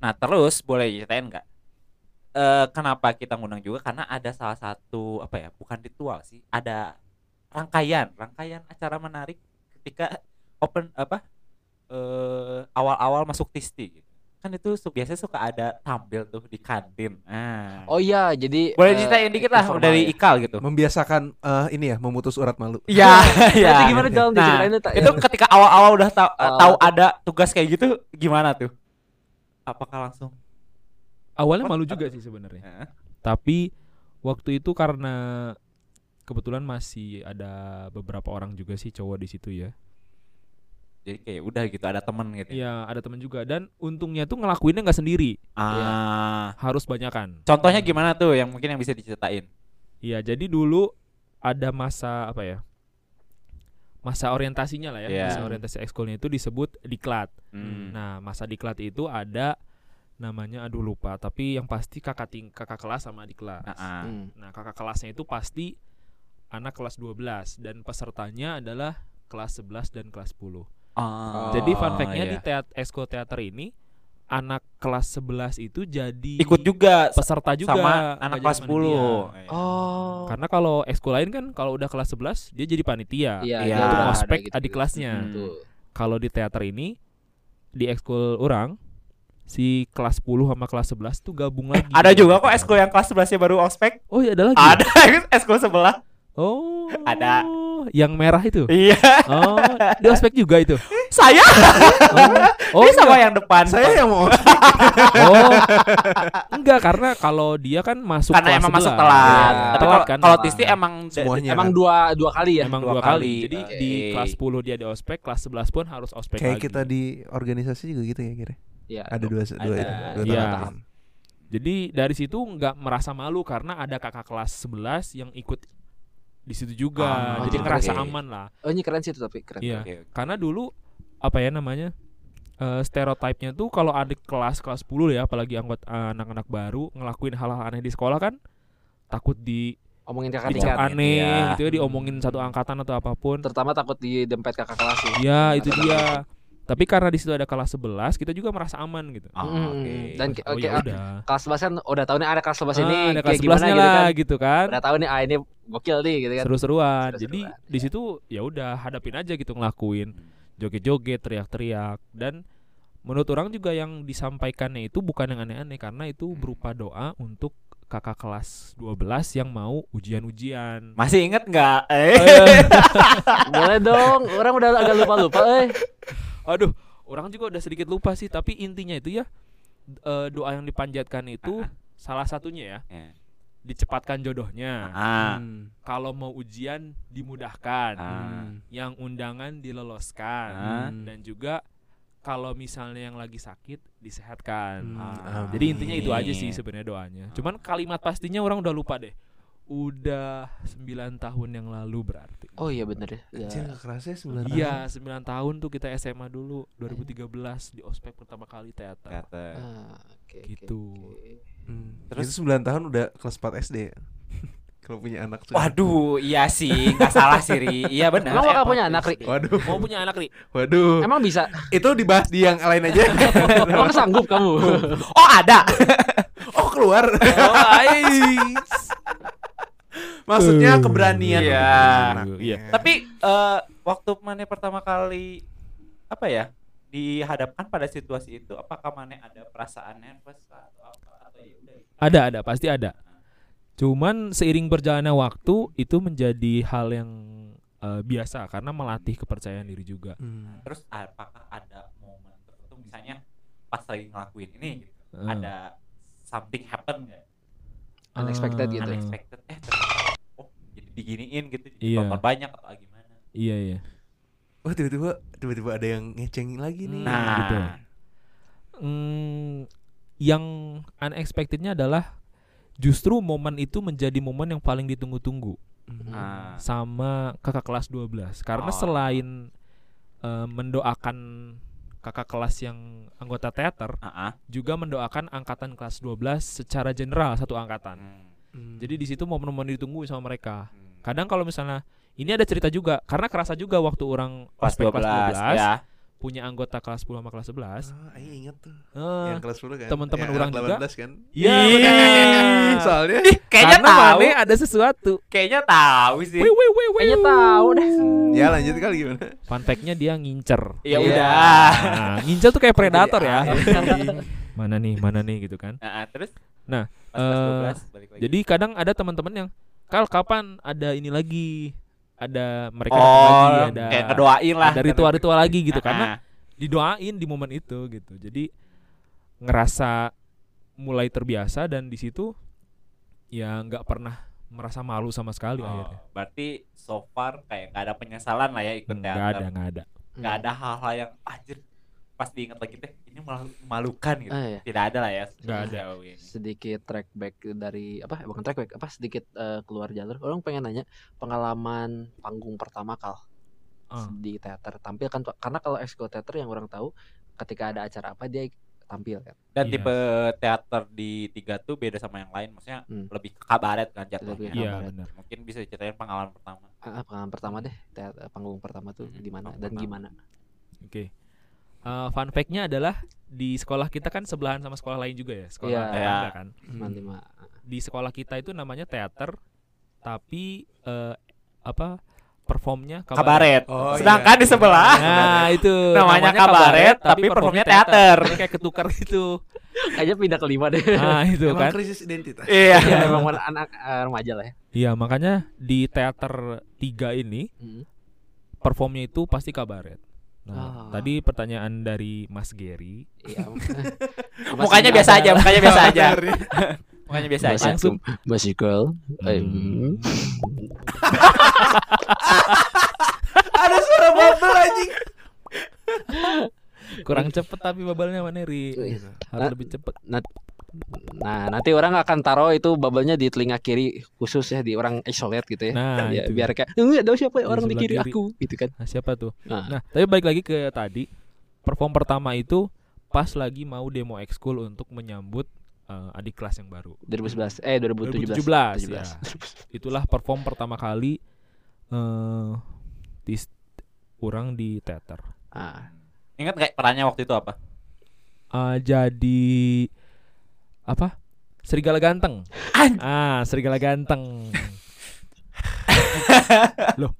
[SPEAKER 1] Nah terus boleh ceritain nggak? Eh kenapa kita ngundang juga? Karena ada salah satu apa ya? Bukan ritual sih, ada rangkaian, rangkaian acara menarik ketika open apa? eh awal-awal masuk Tisti. gitu. Kan itu su- biasanya suka ada tampil tuh di kantin. Nah.
[SPEAKER 6] Oh iya, jadi
[SPEAKER 1] boleh
[SPEAKER 6] eh,
[SPEAKER 1] ceritain dikit lah
[SPEAKER 6] informal
[SPEAKER 1] dari
[SPEAKER 6] ya.
[SPEAKER 1] Ikal gitu.
[SPEAKER 4] Membiasakan eh, ini ya, memutus urat malu.
[SPEAKER 1] [LAUGHS] Iya, iya.
[SPEAKER 6] Berarti gimana dalam
[SPEAKER 1] Nah,
[SPEAKER 6] diceritain Hmm. itu?
[SPEAKER 1] Itu ketika awal-awal udah tahu eh,
[SPEAKER 6] Awal-awal
[SPEAKER 1] tahu
[SPEAKER 6] tuh.
[SPEAKER 1] ada tugas kayak gitu gimana tuh? Apakah langsung?
[SPEAKER 7] Awalnya malu juga sih sebenarnya.
[SPEAKER 1] Heeh.
[SPEAKER 7] Tapi waktu itu karena kebetulan masih ada beberapa orang juga sih cowok di situ ya.
[SPEAKER 1] Jadi kayak udah gitu ada temen gitu. ya?
[SPEAKER 7] Iya, ada teman juga dan untungnya tuh ngelakuinnya nggak sendiri, Iya.
[SPEAKER 1] Ah.
[SPEAKER 7] harus banyakan.
[SPEAKER 1] Contohnya gimana tuh yang mungkin yang bisa diceritain?
[SPEAKER 7] Iya, jadi dulu ada masa apa ya? Masa orientasinya lah ya,
[SPEAKER 1] Iya.
[SPEAKER 7] masa orientasi ekskulnya itu disebut diklat.
[SPEAKER 1] Hmm.
[SPEAKER 7] Nah, masa diklat itu ada namanya aduh lupa, tapi yang pasti kakak ting kakak kelas sama adik kelas.
[SPEAKER 1] Nah, ah.
[SPEAKER 6] Hmm.
[SPEAKER 7] Nah, kakak kelasnya itu pasti anak kelas 12 dan pesertanya adalah kelas 11 dan kelas 10.
[SPEAKER 1] Ah,
[SPEAKER 7] jadi fun fact-nya
[SPEAKER 1] iya.
[SPEAKER 7] di teat Esko Teater ini anak kelas 11 itu jadi
[SPEAKER 1] ikut juga s-
[SPEAKER 7] peserta juga
[SPEAKER 1] sama anak
[SPEAKER 7] nggak
[SPEAKER 1] kelas iya.
[SPEAKER 7] jadi
[SPEAKER 1] 10.
[SPEAKER 7] panitia.
[SPEAKER 6] Oh.
[SPEAKER 7] Karena kalau ekskul lain kan kalau udah kelas 11 dia jadi panitia.
[SPEAKER 6] Iya,
[SPEAKER 1] Iya.
[SPEAKER 6] dia
[SPEAKER 7] Itu
[SPEAKER 6] udah ada
[SPEAKER 7] ospek
[SPEAKER 6] gitu.
[SPEAKER 7] adik kelasnya.
[SPEAKER 1] Hmm.
[SPEAKER 6] Betul.
[SPEAKER 7] Kalau di teater ini di ekskul orang si kelas 10 sama kelas 11 tuh gabung lagi.
[SPEAKER 1] Ada juga kok esko yang kelas 11 nya baru ospek.
[SPEAKER 7] Oh, [LAUGHS] iya ada lagi.
[SPEAKER 1] Ada [LAUGHS] esko
[SPEAKER 7] [LAUGHS]
[SPEAKER 1] sebelah.
[SPEAKER 7] Oh.
[SPEAKER 1] Ada.
[SPEAKER 7] Yang merah itu.
[SPEAKER 1] Iya,
[SPEAKER 7] Oh, di ospek juga
[SPEAKER 1] [LAUGHS]
[SPEAKER 7] itu.
[SPEAKER 1] saya [LAUGHS]
[SPEAKER 7] Oh,
[SPEAKER 1] ini Iya, sama ya.
[SPEAKER 7] enggak.
[SPEAKER 1] yang depan.
[SPEAKER 4] Saya yang mau
[SPEAKER 7] Oh. Enggak, karena kalau dia kan masuk
[SPEAKER 1] karena
[SPEAKER 7] kelas
[SPEAKER 1] emang masuk
[SPEAKER 7] 11.
[SPEAKER 1] telat.
[SPEAKER 7] Iya,
[SPEAKER 1] Tapi
[SPEAKER 7] telat
[SPEAKER 1] kalau
[SPEAKER 7] kan.
[SPEAKER 1] kalau
[SPEAKER 6] telat.
[SPEAKER 1] Tisti emang
[SPEAKER 4] semuanya.
[SPEAKER 6] Emang
[SPEAKER 4] kan?
[SPEAKER 6] dua dua kali ya.
[SPEAKER 7] Emang
[SPEAKER 1] dua
[SPEAKER 7] dua
[SPEAKER 1] kali.
[SPEAKER 7] kali. Jadi
[SPEAKER 1] Oke.
[SPEAKER 7] di kelas 10 dia di ospek, kelas 11 pun harus ospek
[SPEAKER 4] Kayak gitu.
[SPEAKER 7] lagi.
[SPEAKER 4] kita di organisasi juga gitu ya kira.
[SPEAKER 6] Iya.
[SPEAKER 4] Ada dua dua
[SPEAKER 1] Ada.
[SPEAKER 4] itu. Dua
[SPEAKER 7] Iya.
[SPEAKER 4] tahapan.
[SPEAKER 7] Jadi dari situ nggak merasa malu karena ada kakak kelas 11 yang ikut di situ juga.
[SPEAKER 1] Ah,
[SPEAKER 7] Jadi
[SPEAKER 6] oke.
[SPEAKER 7] ngerasa aman lah.
[SPEAKER 6] Oh ini keren sih itu tapi keren.
[SPEAKER 7] Iya.
[SPEAKER 1] Oke, oke.
[SPEAKER 7] Karena dulu apa ya namanya? eh stereotipnya tuh kalau adik kelas kelas 10 ya apalagi anggota anak-anak baru ngelakuin hal-hal aneh di sekolah kan takut di
[SPEAKER 6] Omongin kakak
[SPEAKER 7] dicap
[SPEAKER 6] tingkat.
[SPEAKER 7] aneh
[SPEAKER 1] Iya.
[SPEAKER 7] gitu ya diomongin satu
[SPEAKER 6] Hmm.
[SPEAKER 7] angkatan atau apapun.
[SPEAKER 6] Terutama takut di dempet kakak kelas sih.
[SPEAKER 7] Iya, itu
[SPEAKER 6] Ada-
[SPEAKER 7] dia. Tapi karena di situ ada kelas 11, kita juga merasa aman gitu.
[SPEAKER 1] Ah,
[SPEAKER 6] Mm,
[SPEAKER 1] oke.
[SPEAKER 6] Dan ki-
[SPEAKER 7] Oh,
[SPEAKER 6] oke,
[SPEAKER 7] ya
[SPEAKER 6] ah,
[SPEAKER 7] udah.
[SPEAKER 6] kelas 11 kan udah tahu nih ada kelas 11 ini
[SPEAKER 7] Ah, ada kelas
[SPEAKER 6] kayak gimana
[SPEAKER 7] 11-nya
[SPEAKER 6] gitu
[SPEAKER 7] lah
[SPEAKER 6] kan.
[SPEAKER 7] gitu kan.
[SPEAKER 6] Udah tahu nih ah ini gokil nih gitu kan.
[SPEAKER 7] Seru-seruan.
[SPEAKER 6] Seru-seruan,
[SPEAKER 7] Jadi
[SPEAKER 6] iya.
[SPEAKER 7] di situ ya udah hadapin aja gitu ngelakuin
[SPEAKER 1] Hmm.
[SPEAKER 7] joget-joget, teriak-teriak dan menurut orang juga yang disampaikannya itu bukan yang aneh-aneh karena
[SPEAKER 1] Hmm.
[SPEAKER 7] itu berupa doa untuk kakak kelas 12 yang mau ujian-ujian.
[SPEAKER 1] Masih inget nggak? Eh. [LAUGHS]
[SPEAKER 7] Eh,
[SPEAKER 6] Boleh dong. Orang udah agak lupa-lupa eh.
[SPEAKER 7] Aduh, orang juga udah sedikit lupa sih, tapi intinya itu ya eh, doa yang dipanjatkan itu
[SPEAKER 1] Ah,
[SPEAKER 7] salah satunya ya
[SPEAKER 1] Iya.
[SPEAKER 7] dicepatkan jodohnya.
[SPEAKER 1] Ah.
[SPEAKER 7] Kalau mau ujian dimudahkan.
[SPEAKER 1] Ah.
[SPEAKER 7] yang undangan diloloskan
[SPEAKER 1] Ah.
[SPEAKER 7] dan juga kalau misalnya yang lagi sakit disehatkan.
[SPEAKER 1] Ah. Iya.
[SPEAKER 7] Jadi intinya itu aja sih
[SPEAKER 1] Amin.
[SPEAKER 7] sebenarnya doanya. Cuman kalimat pastinya orang udah lupa deh. Udah 9 tahun yang lalu berarti.
[SPEAKER 6] Oh iya bener ya. Iya.
[SPEAKER 4] Anjir nggak kerasa ya sembilan
[SPEAKER 7] Iya, 9 tahun tuh kita SMA dulu 2013 di ospek pertama kali teater.
[SPEAKER 1] Kata.
[SPEAKER 6] Ah, oke, oke,
[SPEAKER 7] Gitu.
[SPEAKER 6] oke.
[SPEAKER 4] Hmm.
[SPEAKER 1] Terus?
[SPEAKER 4] Itu 9 tahun udah kelas 4 SD. ya? [LAUGHS] kalau punya anak tuh.
[SPEAKER 1] Waduh, iya sih, nggak salah sih, Ri. Iya benar.
[SPEAKER 6] Emang bakal
[SPEAKER 1] Apple
[SPEAKER 6] punya
[SPEAKER 1] Plus
[SPEAKER 6] anak, Ri?
[SPEAKER 1] deh.
[SPEAKER 4] Waduh,
[SPEAKER 7] Mau punya anak nih.
[SPEAKER 4] waduh.
[SPEAKER 6] Emang
[SPEAKER 1] [LAUGHS]
[SPEAKER 6] bisa?
[SPEAKER 4] Itu dibahas di yang lain aja. [LAUGHS]
[SPEAKER 6] Emang sanggup
[SPEAKER 1] [LAUGHS]
[SPEAKER 6] kamu?
[SPEAKER 1] Oh, ada.
[SPEAKER 4] oh, keluar.
[SPEAKER 1] Oh, ai.
[SPEAKER 4] Maksudnya keberanian.
[SPEAKER 1] Iya.
[SPEAKER 4] anak.
[SPEAKER 7] Iya.
[SPEAKER 1] Tapi eh, waktu Mane pertama kali apa ya? dihadapkan pada situasi itu apakah Mane ada perasaan nervous atau apa atau ya udah
[SPEAKER 7] Ada, ada, pasti ada. Cuman seiring berjalannya waktu itu menjadi hal yang eh, biasa karena melatih kepercayaan diri juga.
[SPEAKER 4] Hmm.
[SPEAKER 1] terus apakah ada momen tertentu misalnya pas lagi ngelakuin ini gitu,
[SPEAKER 7] Eh,
[SPEAKER 1] ada something happen nggak
[SPEAKER 7] eh,
[SPEAKER 6] Unexpected gitu. [LAUGHS]
[SPEAKER 1] unexpected eh ternyata, oh jadi diginiin gitu jadi
[SPEAKER 7] Iya.
[SPEAKER 1] nonton banyak atau gimana
[SPEAKER 7] Iya, iya.
[SPEAKER 4] Wah, Oh, tiba-tiba tiba-tiba ada yang ngeceng lagi nih.
[SPEAKER 7] Nah.
[SPEAKER 1] gitu.
[SPEAKER 7] Mm, yang unexpectednya adalah justru momen itu menjadi momen yang paling ditunggu-tunggu.
[SPEAKER 1] nah
[SPEAKER 7] sama kakak kelas 12 karena
[SPEAKER 1] Oh.
[SPEAKER 7] selain eh, mendoakan kakak kelas yang anggota teater
[SPEAKER 1] ah, ah.
[SPEAKER 7] juga mendoakan angkatan kelas 12 secara general satu angkatan.
[SPEAKER 1] Hmm,
[SPEAKER 4] Hmm.
[SPEAKER 7] Jadi di situ momen-momen ditunggu sama mereka.
[SPEAKER 1] hmm.
[SPEAKER 7] Kadang kalau misalnya ini ada cerita juga karena kerasa juga waktu orang
[SPEAKER 1] kelas
[SPEAKER 7] ospek
[SPEAKER 1] 12, ya
[SPEAKER 7] punya anggota kelas 10 sama kelas 11.
[SPEAKER 4] Oh, ayo inget tuh.
[SPEAKER 1] Ya.
[SPEAKER 7] eh,
[SPEAKER 4] yang kelas 10 kan.
[SPEAKER 7] teman-teman
[SPEAKER 4] Yang
[SPEAKER 7] orang
[SPEAKER 4] anak
[SPEAKER 7] juga.
[SPEAKER 4] 18 kan.
[SPEAKER 7] Iya.
[SPEAKER 1] Ih,
[SPEAKER 7] benar. [LAUGHS]
[SPEAKER 4] Soalnya
[SPEAKER 1] kayaknya
[SPEAKER 7] karena
[SPEAKER 1] tahu Iya.
[SPEAKER 7] Mane ada sesuatu.
[SPEAKER 1] kayaknya tahu sih
[SPEAKER 7] Wih, wih, wih, wih.
[SPEAKER 6] Kayaknya tahu deh.
[SPEAKER 1] Iya.
[SPEAKER 4] ya lanjut kali gimana?
[SPEAKER 7] Fun fact-nya dia
[SPEAKER 1] [LAUGHS]
[SPEAKER 7] ngincer.
[SPEAKER 1] ya
[SPEAKER 6] Iya.
[SPEAKER 1] udah
[SPEAKER 7] Nah, ngincer tuh kayak predator ya.
[SPEAKER 4] Anjing.
[SPEAKER 7] mana nih, mana nih gitu kan.
[SPEAKER 1] Nah, terus
[SPEAKER 7] Nah,
[SPEAKER 1] pas kelas
[SPEAKER 7] eh,
[SPEAKER 1] 12 balik lagi.
[SPEAKER 7] Jadi kadang ada teman-teman yang kal kapan ada ini lagi ada mereka
[SPEAKER 1] oh,
[SPEAKER 7] lagi ada
[SPEAKER 1] kayak ngedoain lah.
[SPEAKER 7] ada ritual-ritual lagi gitu
[SPEAKER 1] Ah,
[SPEAKER 7] karena
[SPEAKER 1] ah.
[SPEAKER 7] didoain di momen itu gitu. Jadi ngerasa mulai terbiasa dan di situ ya nggak pernah merasa malu sama sekali
[SPEAKER 1] Oh,
[SPEAKER 7] akhirnya.
[SPEAKER 1] berarti so far kayak nggak ada penyesalan lah ya ikut
[SPEAKER 7] Nggak
[SPEAKER 1] teater.
[SPEAKER 7] ada, nggak ada.
[SPEAKER 1] Nggak ada hal-hal yang "Ah, anjir pas diingat lagi teh ini malu- memalukan gitu.
[SPEAKER 6] Ah, iya.
[SPEAKER 1] Tidak ada lah ya.
[SPEAKER 7] Nggak ada.
[SPEAKER 1] sejauh ini.
[SPEAKER 6] sedikit track back dari apa ya, bukan track back apa sedikit eh, keluar jalur orang pengen nanya pengalaman panggung pertama kal
[SPEAKER 7] Ah.
[SPEAKER 6] di teater tampil kan Pak. karena kalau exco teater yang orang tahu ketika ada acara apa dia tampil kan
[SPEAKER 1] Dan
[SPEAKER 7] Iya.
[SPEAKER 1] tipe teater di tiga tuh beda sama yang lain. Maksudnya
[SPEAKER 6] Hmm.
[SPEAKER 1] lebih ke kabaret kan jatuhnya.
[SPEAKER 6] Lebih
[SPEAKER 7] Iya
[SPEAKER 6] kabaret.
[SPEAKER 7] benar.
[SPEAKER 1] Mungkin bisa diceritain pengalaman pertama.
[SPEAKER 6] Ah, pengalaman pertama deh teater, panggung pertama tuh
[SPEAKER 1] Mhm,
[SPEAKER 6] di mana
[SPEAKER 1] panggung
[SPEAKER 6] dan
[SPEAKER 1] pertama.
[SPEAKER 6] gimana
[SPEAKER 7] Oke. Eh, fun fact-nya adalah di sekolah kita kan sebelahan sama sekolah lain juga ya, sekolah
[SPEAKER 6] Iya.
[SPEAKER 7] tetangga kan.
[SPEAKER 1] Hmm.
[SPEAKER 6] nanti mah
[SPEAKER 7] di sekolah kita itu namanya teater tapi eh, apa performnya kabaret.
[SPEAKER 1] Kabaret.
[SPEAKER 4] Oh,
[SPEAKER 1] Sedangkan
[SPEAKER 4] iya.
[SPEAKER 1] di sebelah
[SPEAKER 7] Nah, itu
[SPEAKER 1] Namanya kabaret, tapi performnya teater.
[SPEAKER 7] Jadi kayak ketukar gitu.
[SPEAKER 6] kayaknya pindah kelima deh
[SPEAKER 7] Nah, itu
[SPEAKER 4] Emang
[SPEAKER 7] kan.
[SPEAKER 4] krisis identitas.
[SPEAKER 1] Iya.
[SPEAKER 6] [LAUGHS] ya emang
[SPEAKER 1] [LAUGHS]
[SPEAKER 6] anak anak, eh, remaja lah ya
[SPEAKER 7] Iya, makanya di teater 3 ini
[SPEAKER 1] Hmm.
[SPEAKER 6] Mhm.
[SPEAKER 7] performnya itu pasti kabaret.
[SPEAKER 6] Ah.
[SPEAKER 7] Nah, tadi pertanyaan dari Mas Gary
[SPEAKER 6] [LAUGHS] Iya.
[SPEAKER 1] Mukanya biasa aja, mukanya biasa
[SPEAKER 4] [LAUGHS]
[SPEAKER 7] [LAUGHS]
[SPEAKER 1] aja. Mukanya biasa aja.
[SPEAKER 7] Langsung.
[SPEAKER 6] langsung masih girl Eh,
[SPEAKER 7] Hmm.
[SPEAKER 4] Ada suara bubble anjing.
[SPEAKER 7] kurang cepet tapi babalnya mana Ri?
[SPEAKER 6] Iya.
[SPEAKER 7] Harus
[SPEAKER 6] Nah.
[SPEAKER 7] lebih cepet.
[SPEAKER 6] Nah, nanti orang akan taruh itu bubble-nya di telinga kiri khusus ya di orang isolate gitu ya.
[SPEAKER 7] Nah,
[SPEAKER 6] Ya,
[SPEAKER 7] itu.
[SPEAKER 6] biar kayak enggak tahu siapa
[SPEAKER 7] Di
[SPEAKER 6] orang di
[SPEAKER 7] sebelah
[SPEAKER 6] kiri
[SPEAKER 7] kiri.
[SPEAKER 6] aku gitu kan.
[SPEAKER 7] Nah, siapa tuh?
[SPEAKER 6] Nah.
[SPEAKER 7] Nah, tapi balik lagi ke tadi perform pertama itu pas lagi mau demo ekskul untuk menyambut eh, adik kelas yang baru.
[SPEAKER 6] 2011 eh 2017.
[SPEAKER 7] 2017, ya. Itulah perform pertama kali eh di st- orang di teater.
[SPEAKER 6] Ah,
[SPEAKER 1] Ingat kayak perannya waktu itu apa?
[SPEAKER 7] Eh, jadi apa? Serigala ganteng. Ah, serigala ganteng. Loh.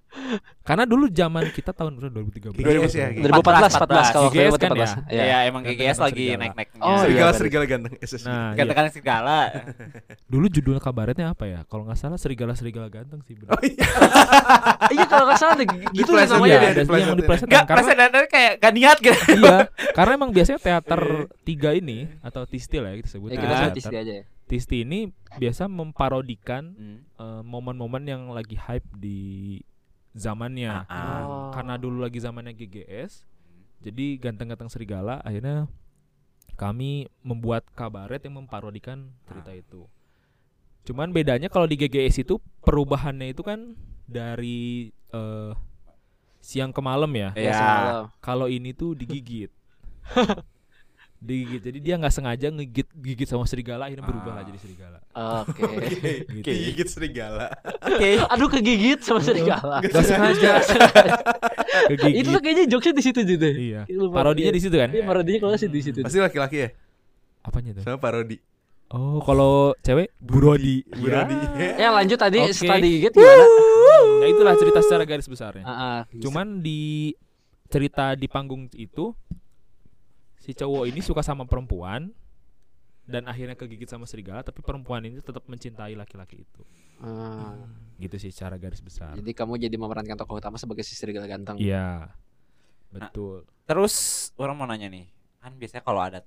[SPEAKER 7] Karena dulu zaman kita tahun berapa? 2013.
[SPEAKER 4] GGS ya, GGS.
[SPEAKER 1] 2014,
[SPEAKER 6] 2014 14 kalau
[SPEAKER 7] GGS
[SPEAKER 6] waktu
[SPEAKER 7] kan ya?
[SPEAKER 6] 14.
[SPEAKER 1] Iya,
[SPEAKER 6] Iya.
[SPEAKER 1] emang
[SPEAKER 7] Ganteng
[SPEAKER 1] GGS
[SPEAKER 7] sama
[SPEAKER 1] lagi
[SPEAKER 7] serigala.
[SPEAKER 1] naik-naiknya.
[SPEAKER 6] Oh, iya.
[SPEAKER 4] Serigala
[SPEAKER 6] bener.
[SPEAKER 4] serigala ganteng. Eh, SS.
[SPEAKER 7] Nah, iya.
[SPEAKER 1] Katakan segala.
[SPEAKER 7] Dulu judul kabaretnya apa ya? Kalau nggak salah serigala serigala ganteng sih benar.
[SPEAKER 6] [LAUGHS]
[SPEAKER 4] Oh iya.
[SPEAKER 6] Iya, kalau enggak salah deh, gitu
[SPEAKER 4] Di
[SPEAKER 6] ya
[SPEAKER 4] flash
[SPEAKER 7] Iya,
[SPEAKER 6] namanya.
[SPEAKER 4] dia,
[SPEAKER 7] ada
[SPEAKER 4] di
[SPEAKER 7] yang mau
[SPEAKER 4] plesetin.
[SPEAKER 7] diplesetin.
[SPEAKER 1] Enggak,
[SPEAKER 7] karena
[SPEAKER 1] pas ada kayak gak niat gitu.
[SPEAKER 7] [LAUGHS] iya, karena emang biasanya teater tiga ini atau tisti lah ya kita sebut.
[SPEAKER 6] Ya kita
[SPEAKER 1] Ah.
[SPEAKER 6] sebut
[SPEAKER 7] Teater.
[SPEAKER 6] tisti aja ya.
[SPEAKER 7] Tisti ini biasa memparodikan
[SPEAKER 6] Hmm.
[SPEAKER 7] eh, momen-momen yang lagi hype di
[SPEAKER 1] Ah,
[SPEAKER 7] zamannya.
[SPEAKER 6] ah.
[SPEAKER 7] Karena dulu lagi zamannya GGS. Jadi ganteng-ganteng serigala akhirnya kami membuat kabaret yang memparodikan cerita
[SPEAKER 1] Ah.
[SPEAKER 7] itu. Cuman bedanya kalau di GGS itu perubahannya itu kan dari eh, siang ke malam ya.
[SPEAKER 1] Iya.
[SPEAKER 6] Semalam. [LAUGHS]
[SPEAKER 7] Kalau ini tuh digigit. digigit jadi dia nggak sengaja ngegigit gigit sama serigala akhirnya
[SPEAKER 1] Ah.
[SPEAKER 7] berubah lah jadi serigala [LAUGHS]
[SPEAKER 6] Oke.
[SPEAKER 7] Gitu.
[SPEAKER 4] Gigit serigala.
[SPEAKER 6] Aduh kegigit sama serigala.
[SPEAKER 7] nggak
[SPEAKER 6] [LAUGHS]
[SPEAKER 7] sengaja kegigit
[SPEAKER 6] Itu tuh kayaknya jokesnya di situ juga.
[SPEAKER 7] iya
[SPEAKER 6] Lupa.
[SPEAKER 7] parodinya di situ kan
[SPEAKER 6] Iya parodinya kalau sih di situ.
[SPEAKER 4] Pasti laki-laki ya?
[SPEAKER 7] apanya tuh
[SPEAKER 4] Sama parodi.
[SPEAKER 7] oh kalau cewek burodi Iya.
[SPEAKER 4] Burodi.
[SPEAKER 6] Ya lanjut tadi
[SPEAKER 7] Oke.
[SPEAKER 6] setelah digigit gimana?
[SPEAKER 7] ya itulah cerita secara garis besarnya
[SPEAKER 6] Ah, ah.
[SPEAKER 7] Cuman di cerita di panggung itu si cowok ini suka sama perempuan dan akhirnya kegigit sama serigala tapi perempuan ini tetap mencintai laki-laki itu.
[SPEAKER 6] Ah,
[SPEAKER 7] Gitu sih secara garis besar.
[SPEAKER 6] Jadi kamu jadi memerankan tokoh utama sebagai si serigala ganteng.
[SPEAKER 7] Iya. Betul.
[SPEAKER 1] Terus orang mau nanya nih, kan biasanya kalau ada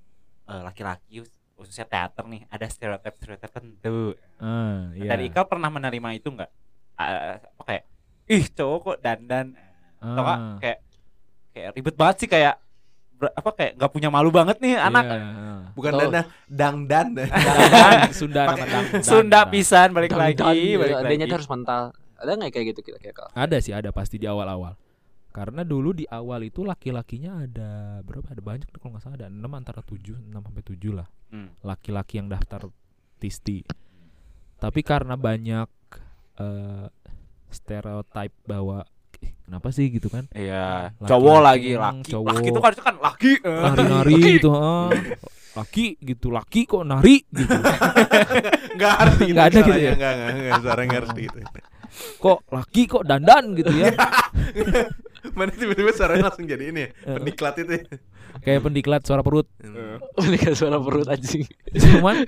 [SPEAKER 1] eh, laki-laki khususnya teater nih ada stereotip stereotip tertentu.
[SPEAKER 7] Ah, iya.
[SPEAKER 1] Dari Ikal pernah menerima itu nggak? Eh, apa kayak, ih cowok kok dandan, atau nggak
[SPEAKER 7] Ah,
[SPEAKER 1] kayak kayak ribet banget sih kayak ber- apa kayak nggak punya malu banget nih anak.
[SPEAKER 7] iya.
[SPEAKER 4] [LAUGHS] Bukan
[SPEAKER 6] Betul.
[SPEAKER 4] dana, dangdan. [LAUGHS]
[SPEAKER 7] Dan Sunda nama
[SPEAKER 4] Pakai-
[SPEAKER 7] dang, dang,
[SPEAKER 1] Sunda
[SPEAKER 7] dang.
[SPEAKER 1] pisan balik
[SPEAKER 6] Dan- dan-
[SPEAKER 1] lagi, balik
[SPEAKER 6] adanya
[SPEAKER 1] lagi.
[SPEAKER 6] tuh harus mental. Ada nggak kayak gitu kira kira? [LAUGHS]
[SPEAKER 7] Ada sih, ada pasti di awal-awal. Karena dulu di awal itu laki-lakinya ada berapa? Ada banyak tuh kalau nggak salah ada 6 antara 7, 6 sampai 7 lah.
[SPEAKER 1] Hmm.
[SPEAKER 7] Laki-laki yang daftar TISTI. Tapi karena banyak eh stereotip bahwa "Ih, kenapa sih gitu
[SPEAKER 6] [LAUGHS]
[SPEAKER 7] kan?
[SPEAKER 1] Iya,
[SPEAKER 7] Laki-laki
[SPEAKER 1] cowok lagi
[SPEAKER 7] emang
[SPEAKER 1] laki.
[SPEAKER 7] cowok.
[SPEAKER 1] Laki itu kan itu kan laki. eh.
[SPEAKER 7] Nari-nari gitu, heeh. Laki gitu, laki kok nari gitu.
[SPEAKER 4] Enggak harus gitu.
[SPEAKER 7] Nggak ada gitu
[SPEAKER 4] caranya.
[SPEAKER 7] ya?
[SPEAKER 4] Nggak, nggak, nggak. Suara nggak harus gitu.
[SPEAKER 7] Kok laki kok dandan gitu
[SPEAKER 6] [LAUGHS]
[SPEAKER 7] ya.
[SPEAKER 4] Mana tiba-tiba suaranya langsung jadi ini ya? Pendiklat itu ya?
[SPEAKER 7] Kayak pendiklat suara perut.
[SPEAKER 6] Pendidikan suara perut anjing.
[SPEAKER 7] Cuman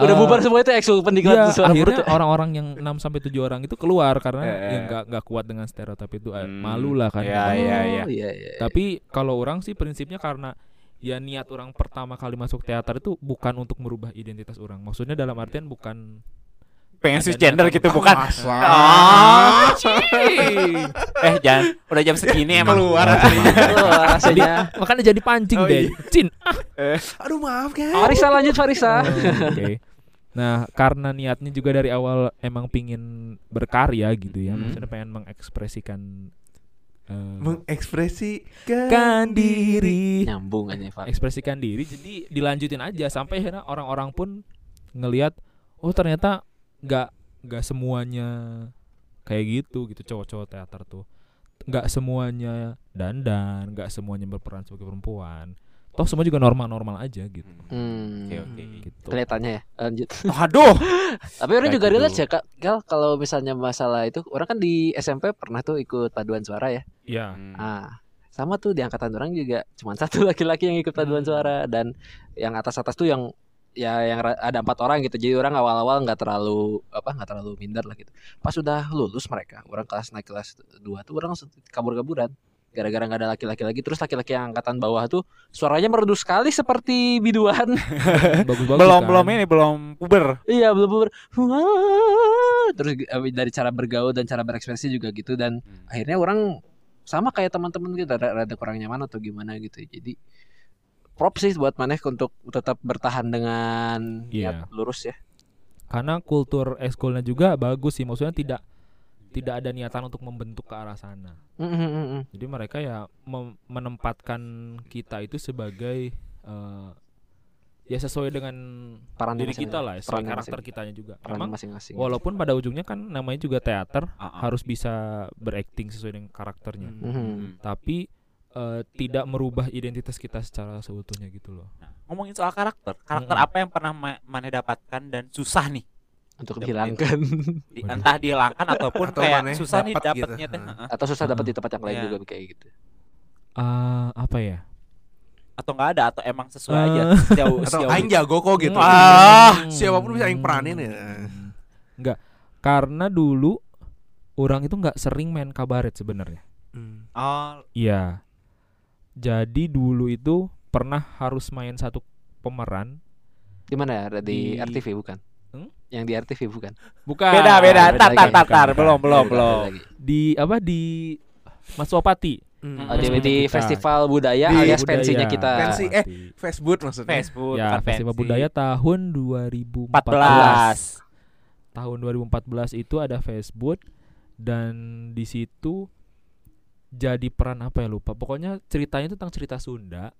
[SPEAKER 6] Udah
[SPEAKER 7] eh,
[SPEAKER 6] bubar semua itu eksul pendidikan
[SPEAKER 7] Iya,
[SPEAKER 6] suara perut.
[SPEAKER 7] akhirnya orang-orang yang 6 sampai 7 orang itu keluar karena
[SPEAKER 1] Eh, eh.
[SPEAKER 7] yang nggak nggak kuat dengan stereotip itu eh,
[SPEAKER 1] Hmm,
[SPEAKER 7] malu lah kan.
[SPEAKER 1] iya, iya, iya.
[SPEAKER 6] Oh, iya iya.
[SPEAKER 7] Tapi kalau orang sih prinsipnya karena ya niat orang pertama kali masuk teater itu bukan untuk merubah identitas orang. Maksudnya dalam artian bukan
[SPEAKER 1] Pengen
[SPEAKER 7] Ada Oh.
[SPEAKER 1] switch gender
[SPEAKER 7] niatan-
[SPEAKER 1] gitu bukan? Ah, cing. eh jangan, udah jam segini emang.
[SPEAKER 4] Keluar [LAUGHS]
[SPEAKER 6] Oh,
[SPEAKER 7] [LAUGHS]
[SPEAKER 6] rasanya.
[SPEAKER 7] makanya jadi pancing
[SPEAKER 4] Oh, iya.
[SPEAKER 7] deh.
[SPEAKER 4] [LAUGHS]
[SPEAKER 7] Cin.
[SPEAKER 4] Aduh maaf kan
[SPEAKER 6] Farisa lanjut Farisa.
[SPEAKER 7] Oh, Oke. Nah, karena niatnya juga dari awal emang pingin berkarya gitu ya.
[SPEAKER 1] Hmm.
[SPEAKER 7] Maksudnya pengen mengekspresikan eh,
[SPEAKER 4] Mengekspresikan
[SPEAKER 7] kan diri.
[SPEAKER 6] Nyambung aja Far.
[SPEAKER 7] ekspresikan diri jadi dilanjutin aja sampai akhirnya orang-orang pun ngelihat oh ternyata nggak nggak semuanya kayak gitu gitu cowok-cowok teater tuh nggak semuanya dandan nggak semuanya berperan sebagai perempuan toh semua juga normal-normal aja gitu
[SPEAKER 6] Hmm.
[SPEAKER 1] Oke, oke.
[SPEAKER 7] gitu
[SPEAKER 6] Kelihatannya ya. Lanjut.
[SPEAKER 1] Aduh.
[SPEAKER 6] Tapi orang
[SPEAKER 1] Kayak
[SPEAKER 6] juga
[SPEAKER 1] gitu.
[SPEAKER 6] relate ya Kak. Gal, kalau misalnya masalah itu orang kan di SMP pernah tuh ikut paduan suara ya.
[SPEAKER 1] [LAUGHS]
[SPEAKER 7] ya
[SPEAKER 6] Ah, sama tuh di angkatan orang juga cuma [LAUGHS] satu laki-laki yang ikut paduan suara dan yang atas-atas tuh yang ya yang ra- ada empat orang gitu jadi orang awal-awal nggak terlalu apa nggak terlalu minder lah gitu pas sudah lulus mereka orang kelas naik kelas dua tuh orang langsung kabur-kaburan gara-gara nggak ada laki-laki lagi terus laki-laki yang angkatan bawah tuh suaranya merdu sekali seperti biduan
[SPEAKER 7] bagus-bagus
[SPEAKER 1] belum
[SPEAKER 7] kan?
[SPEAKER 1] belum ini belum puber.
[SPEAKER 6] iya belum belum terus eh, dari cara bergaul dan cara berekspresi juga gitu dan akhirnya orang sama kayak teman-teman kita ada ada kurang nyaman atau gimana gitu jadi prop sih buat Maneh untuk tetap bertahan dengan niat
[SPEAKER 7] Iya.
[SPEAKER 6] lurus ya
[SPEAKER 7] karena kultur eskulnya juga bagus sih maksudnya tidak tidak ada niatan untuk membentuk ke arah sana
[SPEAKER 6] Hmm, Mm-mm-mm.
[SPEAKER 7] Jadi mereka ya mem- menempatkan kita itu sebagai eh, ya sesuai dengan
[SPEAKER 6] peran
[SPEAKER 7] diri
[SPEAKER 6] masing-masing.
[SPEAKER 7] kita lah, sesuai
[SPEAKER 6] Perannya
[SPEAKER 7] karakter
[SPEAKER 6] masing-
[SPEAKER 7] kitanya juga.
[SPEAKER 6] perannya
[SPEAKER 7] Memang
[SPEAKER 6] masing-masing
[SPEAKER 7] walaupun pada ujungnya kan namanya juga teater,
[SPEAKER 1] Ah, ah.
[SPEAKER 7] harus bisa berakting sesuai dengan karakternya.
[SPEAKER 6] Mhm.
[SPEAKER 1] Hmm.
[SPEAKER 7] Tapi eh, tidak merubah identitas kita secara seutuhnya gitu loh.
[SPEAKER 1] Nah, ngomongin soal karakter, karakter
[SPEAKER 7] Mm-mm.
[SPEAKER 1] apa yang pernah ma- Mane dapatkan dan susah nih?
[SPEAKER 6] untuk
[SPEAKER 1] Dapat
[SPEAKER 6] dihilangkan
[SPEAKER 1] Di,
[SPEAKER 7] Waduh.
[SPEAKER 1] entah dihilangkan ataupun
[SPEAKER 4] Atau
[SPEAKER 1] kayak
[SPEAKER 4] Mane
[SPEAKER 1] susah nih
[SPEAKER 4] dapat gitu.
[SPEAKER 1] dapatnya teh.
[SPEAKER 4] Ah.
[SPEAKER 1] Heeh.
[SPEAKER 6] atau susah dapat
[SPEAKER 7] Heeh.
[SPEAKER 6] di tempat yang lain
[SPEAKER 1] Iya.
[SPEAKER 6] juga kayak gitu
[SPEAKER 7] Ah, apa ya?
[SPEAKER 1] Atau nggak ada atau emang sesuai aja
[SPEAKER 7] Eh.
[SPEAKER 1] sejauh
[SPEAKER 4] Atau
[SPEAKER 1] sejauh.
[SPEAKER 4] aing jago kok gitu
[SPEAKER 7] Ah,
[SPEAKER 4] Siapapun bisa aing peranin ya
[SPEAKER 7] Enggak. Karena dulu orang itu nggak sering main kabaret sebenarnya.
[SPEAKER 1] Oh,
[SPEAKER 7] Iya. Jadi dulu itu pernah harus main satu pemeran.
[SPEAKER 6] di mana ya ada di,
[SPEAKER 7] Di-
[SPEAKER 6] RTV bukan
[SPEAKER 7] Hmm?
[SPEAKER 6] yang di RTV bukan
[SPEAKER 7] Bukan.
[SPEAKER 1] beda beda,
[SPEAKER 6] beda
[SPEAKER 1] tar
[SPEAKER 6] lagi,
[SPEAKER 1] tar tar,
[SPEAKER 7] bukan,
[SPEAKER 1] tar.
[SPEAKER 7] bukan.
[SPEAKER 1] belum belum
[SPEAKER 6] Ada
[SPEAKER 1] belum.
[SPEAKER 6] lagi.
[SPEAKER 7] Di apa di Mas Wapati.
[SPEAKER 6] Oh,
[SPEAKER 4] Hmm.
[SPEAKER 6] di,
[SPEAKER 7] Masih
[SPEAKER 6] di
[SPEAKER 7] kita.
[SPEAKER 6] festival budaya
[SPEAKER 4] Di
[SPEAKER 6] Iya, alias
[SPEAKER 7] budaya.
[SPEAKER 6] pensinya kita
[SPEAKER 4] Pensi, eh. Facebook maksudnya
[SPEAKER 1] Facebook,
[SPEAKER 7] Ya, Festival Budaya tahun 2014.
[SPEAKER 1] 14.
[SPEAKER 7] Tahun 2014 itu ada Facebook dan di situ jadi peran apa ya lupa. Pokoknya ceritanya itu tentang cerita Sunda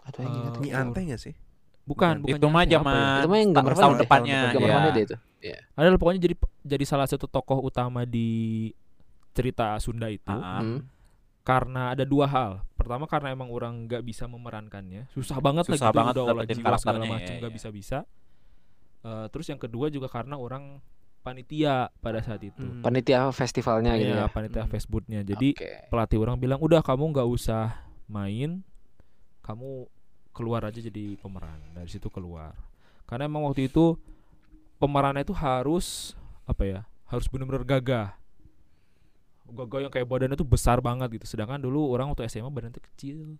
[SPEAKER 6] Aduh, Hmm. yang ingat.
[SPEAKER 7] Eh,
[SPEAKER 4] Mie ante gak sih?
[SPEAKER 7] bukan bukan
[SPEAKER 1] itu mah
[SPEAKER 7] Yante, apa ya?
[SPEAKER 1] zaman
[SPEAKER 6] Itu mah yang gambar
[SPEAKER 1] tahun
[SPEAKER 6] Honda.
[SPEAKER 1] depannya
[SPEAKER 7] Nah,
[SPEAKER 4] Tahun
[SPEAKER 6] Gambar
[SPEAKER 7] iya.
[SPEAKER 1] ya.
[SPEAKER 6] Honda dia itu.
[SPEAKER 7] Adalah pokoknya jadi jadi salah satu tokoh utama di cerita Sunda itu
[SPEAKER 1] Ah,
[SPEAKER 6] Hmm.
[SPEAKER 7] karena ada dua hal. Pertama karena emang orang nggak bisa memerankannya, susah banget
[SPEAKER 1] Susah
[SPEAKER 7] lagi tuh,
[SPEAKER 1] banget
[SPEAKER 7] udah olah
[SPEAKER 1] dapetin
[SPEAKER 7] jiwa segala
[SPEAKER 1] karakternya, ya,
[SPEAKER 7] macam nggak
[SPEAKER 1] ya.
[SPEAKER 7] bisa-bisa. Eh, terus yang kedua juga karena orang panitia pada saat itu.
[SPEAKER 1] Hmm.
[SPEAKER 6] Panitia festivalnya gitu
[SPEAKER 7] Hmm. Iya,
[SPEAKER 6] ya.
[SPEAKER 7] panitia
[SPEAKER 4] Hmm.
[SPEAKER 7] Facebooknya. Jadi
[SPEAKER 6] Oke.
[SPEAKER 7] pelatih orang bilang udah kamu nggak usah main kamu keluar aja jadi pemeran dari situ keluar karena emang waktu itu pemerannya itu harus apa ya harus benar-benar gagah gagah yang kayak badannya tuh besar banget gitu sedangkan dulu orang waktu SMA badannya tuh kecil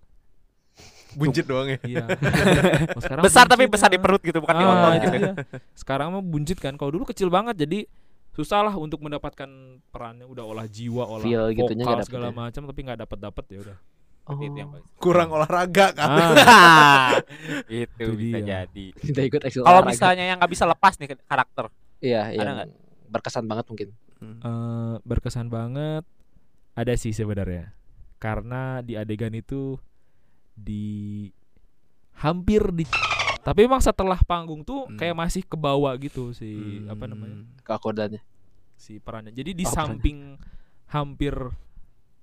[SPEAKER 4] Buncit doang ya.
[SPEAKER 7] iya
[SPEAKER 1] [LAUGHS]
[SPEAKER 7] Kalau sekarang
[SPEAKER 1] besar tapi
[SPEAKER 7] buncit
[SPEAKER 1] besar di
[SPEAKER 7] lah.
[SPEAKER 1] perut gitu bukan di
[SPEAKER 7] Ah,
[SPEAKER 1] otot
[SPEAKER 7] itu
[SPEAKER 1] gitu.
[SPEAKER 7] dia. Sekarang mah buncit kan. Kalau dulu kecil banget jadi susah lah untuk mendapatkan perannya udah olah jiwa, olah
[SPEAKER 6] Feel
[SPEAKER 7] vokal
[SPEAKER 6] gitunya nggak dapet
[SPEAKER 7] segala
[SPEAKER 6] ya.
[SPEAKER 7] macam tapi nggak dapat dapat ya udah.
[SPEAKER 6] Oh.
[SPEAKER 1] [LAUGHS] Itu yang bagus.
[SPEAKER 4] Kurang olahraga kan.
[SPEAKER 7] Ah,
[SPEAKER 1] [LAUGHS] itu
[SPEAKER 7] Itu
[SPEAKER 1] bisa
[SPEAKER 7] dia.
[SPEAKER 1] jadi.
[SPEAKER 6] [LAUGHS] Tidak ikut eksil
[SPEAKER 1] Kalau
[SPEAKER 6] olahraga.
[SPEAKER 1] misalnya yang nggak bisa lepas nih karakter.
[SPEAKER 6] Iya,
[SPEAKER 1] Ada
[SPEAKER 6] yang
[SPEAKER 1] nggak?
[SPEAKER 6] berkesan banget mungkin.
[SPEAKER 7] eh, berkesan banget. Ada sih sebenarnya. Karena di adegan itu di hampir di tapi emang setelah panggung tuh
[SPEAKER 4] Hmm.
[SPEAKER 7] kayak masih ke bawah gitu si
[SPEAKER 1] Hmm.
[SPEAKER 7] apa namanya
[SPEAKER 6] Keakodannya.
[SPEAKER 7] si perannya. Jadi di
[SPEAKER 6] Oh, perannya.
[SPEAKER 7] samping hampir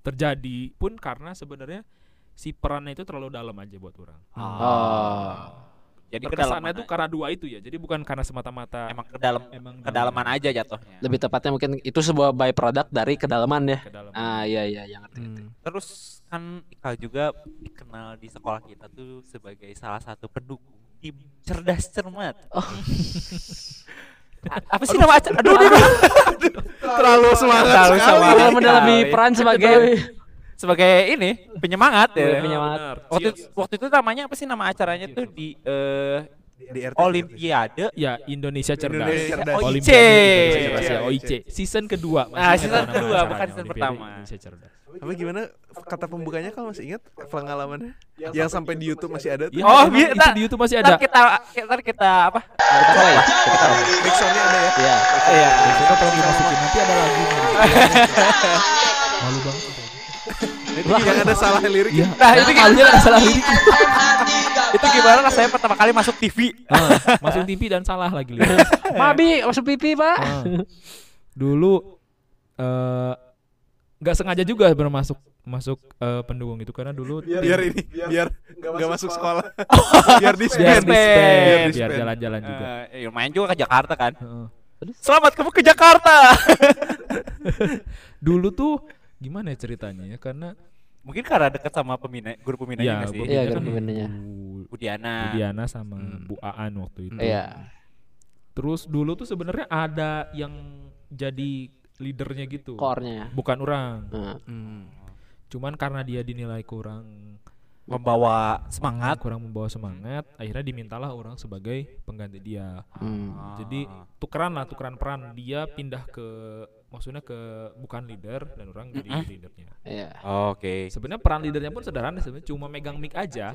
[SPEAKER 7] terjadi pun karena sebenarnya si perannya itu terlalu dalam aja buat orang.
[SPEAKER 1] Ah.
[SPEAKER 7] Hmm.
[SPEAKER 1] Oh.
[SPEAKER 6] Ah.
[SPEAKER 1] Jadi
[SPEAKER 7] Berkesannya
[SPEAKER 1] kedalaman
[SPEAKER 7] itu karena dua itu ya. Jadi bukan karena semata-mata
[SPEAKER 1] emang ke dalam
[SPEAKER 7] emang
[SPEAKER 1] kedalaman aja jatuhnya.
[SPEAKER 6] Lebih tepatnya mungkin itu sebuah byproduct dari kedalaman ya.
[SPEAKER 7] kedalaman.
[SPEAKER 6] Ah, iya iya, yang ngerti. ngerti.
[SPEAKER 1] Terus kan Ikal juga dikenal di sekolah kita tuh sebagai salah satu pendukung tim cerdas cermat.
[SPEAKER 6] Oh.
[SPEAKER 1] [LAUGHS] A- apa sih nama acara? Aduh, aduh, aduh.
[SPEAKER 4] Terlalu semangat
[SPEAKER 1] Terlalu
[SPEAKER 4] sekali.
[SPEAKER 1] semangat.
[SPEAKER 6] Kedalaman udah lebih
[SPEAKER 1] Sekali.
[SPEAKER 6] peran sebagai
[SPEAKER 1] Sebagai ini penyemangat
[SPEAKER 6] Iya,
[SPEAKER 1] ya.
[SPEAKER 6] penyemangat.
[SPEAKER 7] Benar.
[SPEAKER 1] Waktu
[SPEAKER 7] Cheers.
[SPEAKER 1] waktu itu namanya apa sih nama acaranya tuh di eh,
[SPEAKER 4] Di RT.
[SPEAKER 1] Olimpiade
[SPEAKER 7] Ya Indonesia cerdas.
[SPEAKER 4] Indonesia cerdas.
[SPEAKER 1] OIC.
[SPEAKER 7] Olimpiade Indonesia cerdas ya,
[SPEAKER 4] OIC.
[SPEAKER 7] OIC. Season kedua. masih
[SPEAKER 1] Ah,
[SPEAKER 7] ingat
[SPEAKER 1] season
[SPEAKER 7] nama
[SPEAKER 1] kedua,
[SPEAKER 7] acaranya,
[SPEAKER 1] bukan season
[SPEAKER 7] Olimpiade
[SPEAKER 1] pertama. Oh,
[SPEAKER 7] Indonesia cerdas.
[SPEAKER 4] Apa gimana kata pembukanya kalau masih ingat pengalamannya? Yang sampai di YouTube masih ada tuh.
[SPEAKER 7] Ya,
[SPEAKER 1] Oh,
[SPEAKER 7] emang
[SPEAKER 1] bi-
[SPEAKER 7] itu
[SPEAKER 1] tak-
[SPEAKER 7] di YouTube masih ada.
[SPEAKER 1] Ntar kita ntar kita apa?
[SPEAKER 4] Backsoundnya ada ya.
[SPEAKER 6] ya? Iya.
[SPEAKER 1] Iya.
[SPEAKER 7] Besoknya tolong dimasukin nanti ada lagu. Malu banget.
[SPEAKER 4] Yang ada salah lirik.
[SPEAKER 7] Iya.
[SPEAKER 1] Nah, itu
[SPEAKER 7] Malunya ada salah lirik.
[SPEAKER 1] Itu gimana rasanya pertama kali masuk TV?
[SPEAKER 7] Ah, masuk TV dan salah lagi
[SPEAKER 1] [LAUGHS]
[SPEAKER 7] lirik.
[SPEAKER 6] Mabi masuk pipi, Pak.
[SPEAKER 7] Ah. dulu eh, nggak sengaja juga bermasuk masuk eh, pendukung itu karena dulu tim-
[SPEAKER 4] Biar ini biar nggak masuk sekolah. Biar di spend.
[SPEAKER 7] biar di spend,
[SPEAKER 4] Biar Ah. di
[SPEAKER 7] biar
[SPEAKER 4] spend.
[SPEAKER 7] jalan-jalan juga
[SPEAKER 1] Eh, ya main juga ke Jakarta kan.
[SPEAKER 7] Heeh.
[SPEAKER 1] Selamat kamu ke Jakarta. [LAUGHS]
[SPEAKER 7] dulu tuh gimana ya ceritanya ya karena
[SPEAKER 1] Mungkin karena dekat sama pembina guru pembina
[SPEAKER 7] ya
[SPEAKER 1] sih.
[SPEAKER 7] Bob
[SPEAKER 6] Iya,
[SPEAKER 7] Diana
[SPEAKER 6] kan pembinanya.
[SPEAKER 7] Bu
[SPEAKER 1] Budiana.
[SPEAKER 7] Diana sama
[SPEAKER 4] Nah. Hmm.
[SPEAKER 7] Bu Aan waktu itu
[SPEAKER 6] Iya.
[SPEAKER 7] terus dulu tuh sebenarnya ada yang jadi leadernya gitu
[SPEAKER 6] Core-nya.
[SPEAKER 7] bukan orang
[SPEAKER 6] Nah,
[SPEAKER 1] Hmm.
[SPEAKER 7] cuman karena dia dinilai kurang
[SPEAKER 1] membawa semangat.
[SPEAKER 7] kurang membawa semangat akhirnya dimintalah orang sebagai pengganti dia
[SPEAKER 6] hmm.
[SPEAKER 7] Jadi tukeran lah, tukeran peran. Dia pindah ke maksudnya ke bukan leader dan orang jadi leadernya.
[SPEAKER 6] Iya.
[SPEAKER 1] Oke.
[SPEAKER 7] Sebenarnya peran leadernya pun sederhana sebenarnya cuma megang mic aja,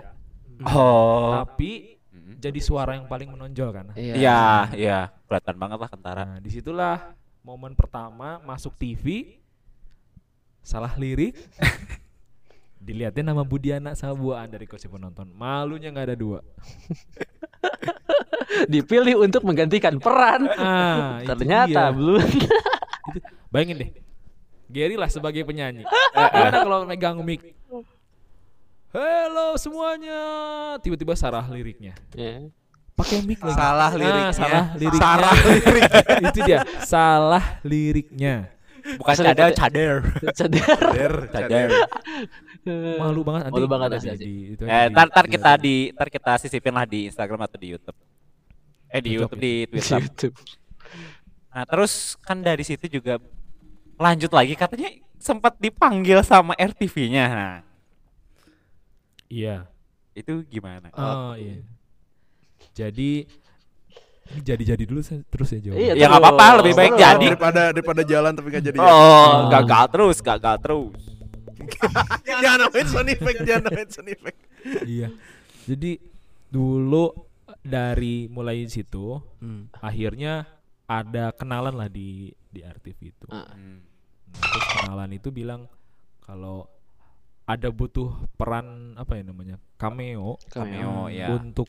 [SPEAKER 1] Oh.
[SPEAKER 7] tapi jadi suara yang paling menonjol kan.
[SPEAKER 6] Iya.
[SPEAKER 1] Iya, iya. Kelihatan banget lah kentara.
[SPEAKER 7] Nah, disitulah momen pertama masuk TV salah lirik dilihatin nama Budiana sama Buaan dari kursi penonton malunya nggak ada dua
[SPEAKER 6] Dipilih untuk menggantikan peran.
[SPEAKER 7] ah itu
[SPEAKER 6] Ternyata
[SPEAKER 7] dia. [LAUGHS]
[SPEAKER 6] belum.
[SPEAKER 7] Bayangin deh. Gary lah sebagai penyanyi. Gimana kalau megang mic? Halo semuanya. Tiba-tiba sarah liriknya.
[SPEAKER 6] Iya.
[SPEAKER 7] Pakai mic lagi.
[SPEAKER 4] Salah
[SPEAKER 7] Ah,
[SPEAKER 4] liriknya.
[SPEAKER 7] salah liriknya. [LAUGHS] Itu dia. Salah liriknya.
[SPEAKER 1] Bukan cadel, cader.
[SPEAKER 6] Ceder.
[SPEAKER 4] Cader, cader.
[SPEAKER 7] Malu banget nanti.
[SPEAKER 6] Malu banget
[SPEAKER 7] ada
[SPEAKER 6] asli,
[SPEAKER 7] di-
[SPEAKER 6] asli.
[SPEAKER 7] di- itu Iya.
[SPEAKER 1] Eh,
[SPEAKER 7] di-
[SPEAKER 1] ntar, ntar
[SPEAKER 7] di-
[SPEAKER 1] kita di ntar kita sisipin lah di Instagram atau di YouTube. Eh di
[SPEAKER 7] Cocok
[SPEAKER 1] YouTube di
[SPEAKER 7] [LAUGHS]
[SPEAKER 1] Twitter.
[SPEAKER 6] YouTube.
[SPEAKER 1] Nah, terus kan dari situ juga lanjut lagi katanya sempat dipanggil sama RTV-nya. Nah,
[SPEAKER 7] Iya.
[SPEAKER 1] itu gimana?
[SPEAKER 7] Oh, iya. Jadi ini jadi-jadi dulu saya- terus ya jawab.
[SPEAKER 6] Iya,
[SPEAKER 1] ya nggak apa-apa,
[SPEAKER 6] terus.
[SPEAKER 1] lebih baik
[SPEAKER 6] Terus.
[SPEAKER 1] jadi.
[SPEAKER 4] Daripada daripada jalan tapi nggak jadi.
[SPEAKER 7] iya.
[SPEAKER 4] ya.
[SPEAKER 1] Oh,
[SPEAKER 7] Ah.
[SPEAKER 1] gagal terus, gagal terus.
[SPEAKER 4] Jangan nambahin sound effect, jangan nambahin sound effect.
[SPEAKER 7] iya. Jadi dulu dari mulai situ
[SPEAKER 6] oh.
[SPEAKER 1] Hmm.
[SPEAKER 7] akhirnya ada kenalan lah di di RTV itu.
[SPEAKER 6] Ah.
[SPEAKER 1] Hmm.
[SPEAKER 7] Nah, terus kenalan itu bilang kalau ada butuh peran apa ya namanya cameo,
[SPEAKER 1] Cameo, ya.
[SPEAKER 6] iya.
[SPEAKER 7] untuk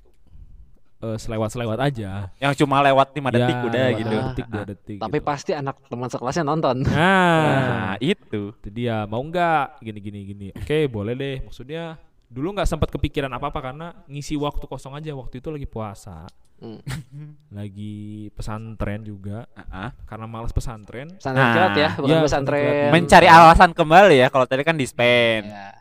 [SPEAKER 7] eh, selewat-selewat aja.
[SPEAKER 1] yang cuma lewat 5
[SPEAKER 7] Ya,
[SPEAKER 1] detik udah
[SPEAKER 7] lewat
[SPEAKER 1] gitu.
[SPEAKER 7] lima Detik, dua detik.
[SPEAKER 6] Ah. Tapi
[SPEAKER 7] gitu.
[SPEAKER 6] pasti anak teman sekelasnya nonton.
[SPEAKER 7] Nah,
[SPEAKER 1] Nah, itu.
[SPEAKER 7] itu dia mau nggak gini gini gini oke boleh deh maksudnya dulu nggak sempat kepikiran apa apa karena ngisi waktu kosong aja waktu itu lagi puasa
[SPEAKER 6] Hmm.
[SPEAKER 7] [LAUGHS] lagi pesantren juga
[SPEAKER 1] Heeh.
[SPEAKER 7] karena malas pesantren
[SPEAKER 1] Nah,
[SPEAKER 6] Pesantren kilat ya, bukan
[SPEAKER 7] iya,
[SPEAKER 6] pesantren.
[SPEAKER 1] Mencari alasan kembali ya kalau tadi kan dispen.
[SPEAKER 6] Ya.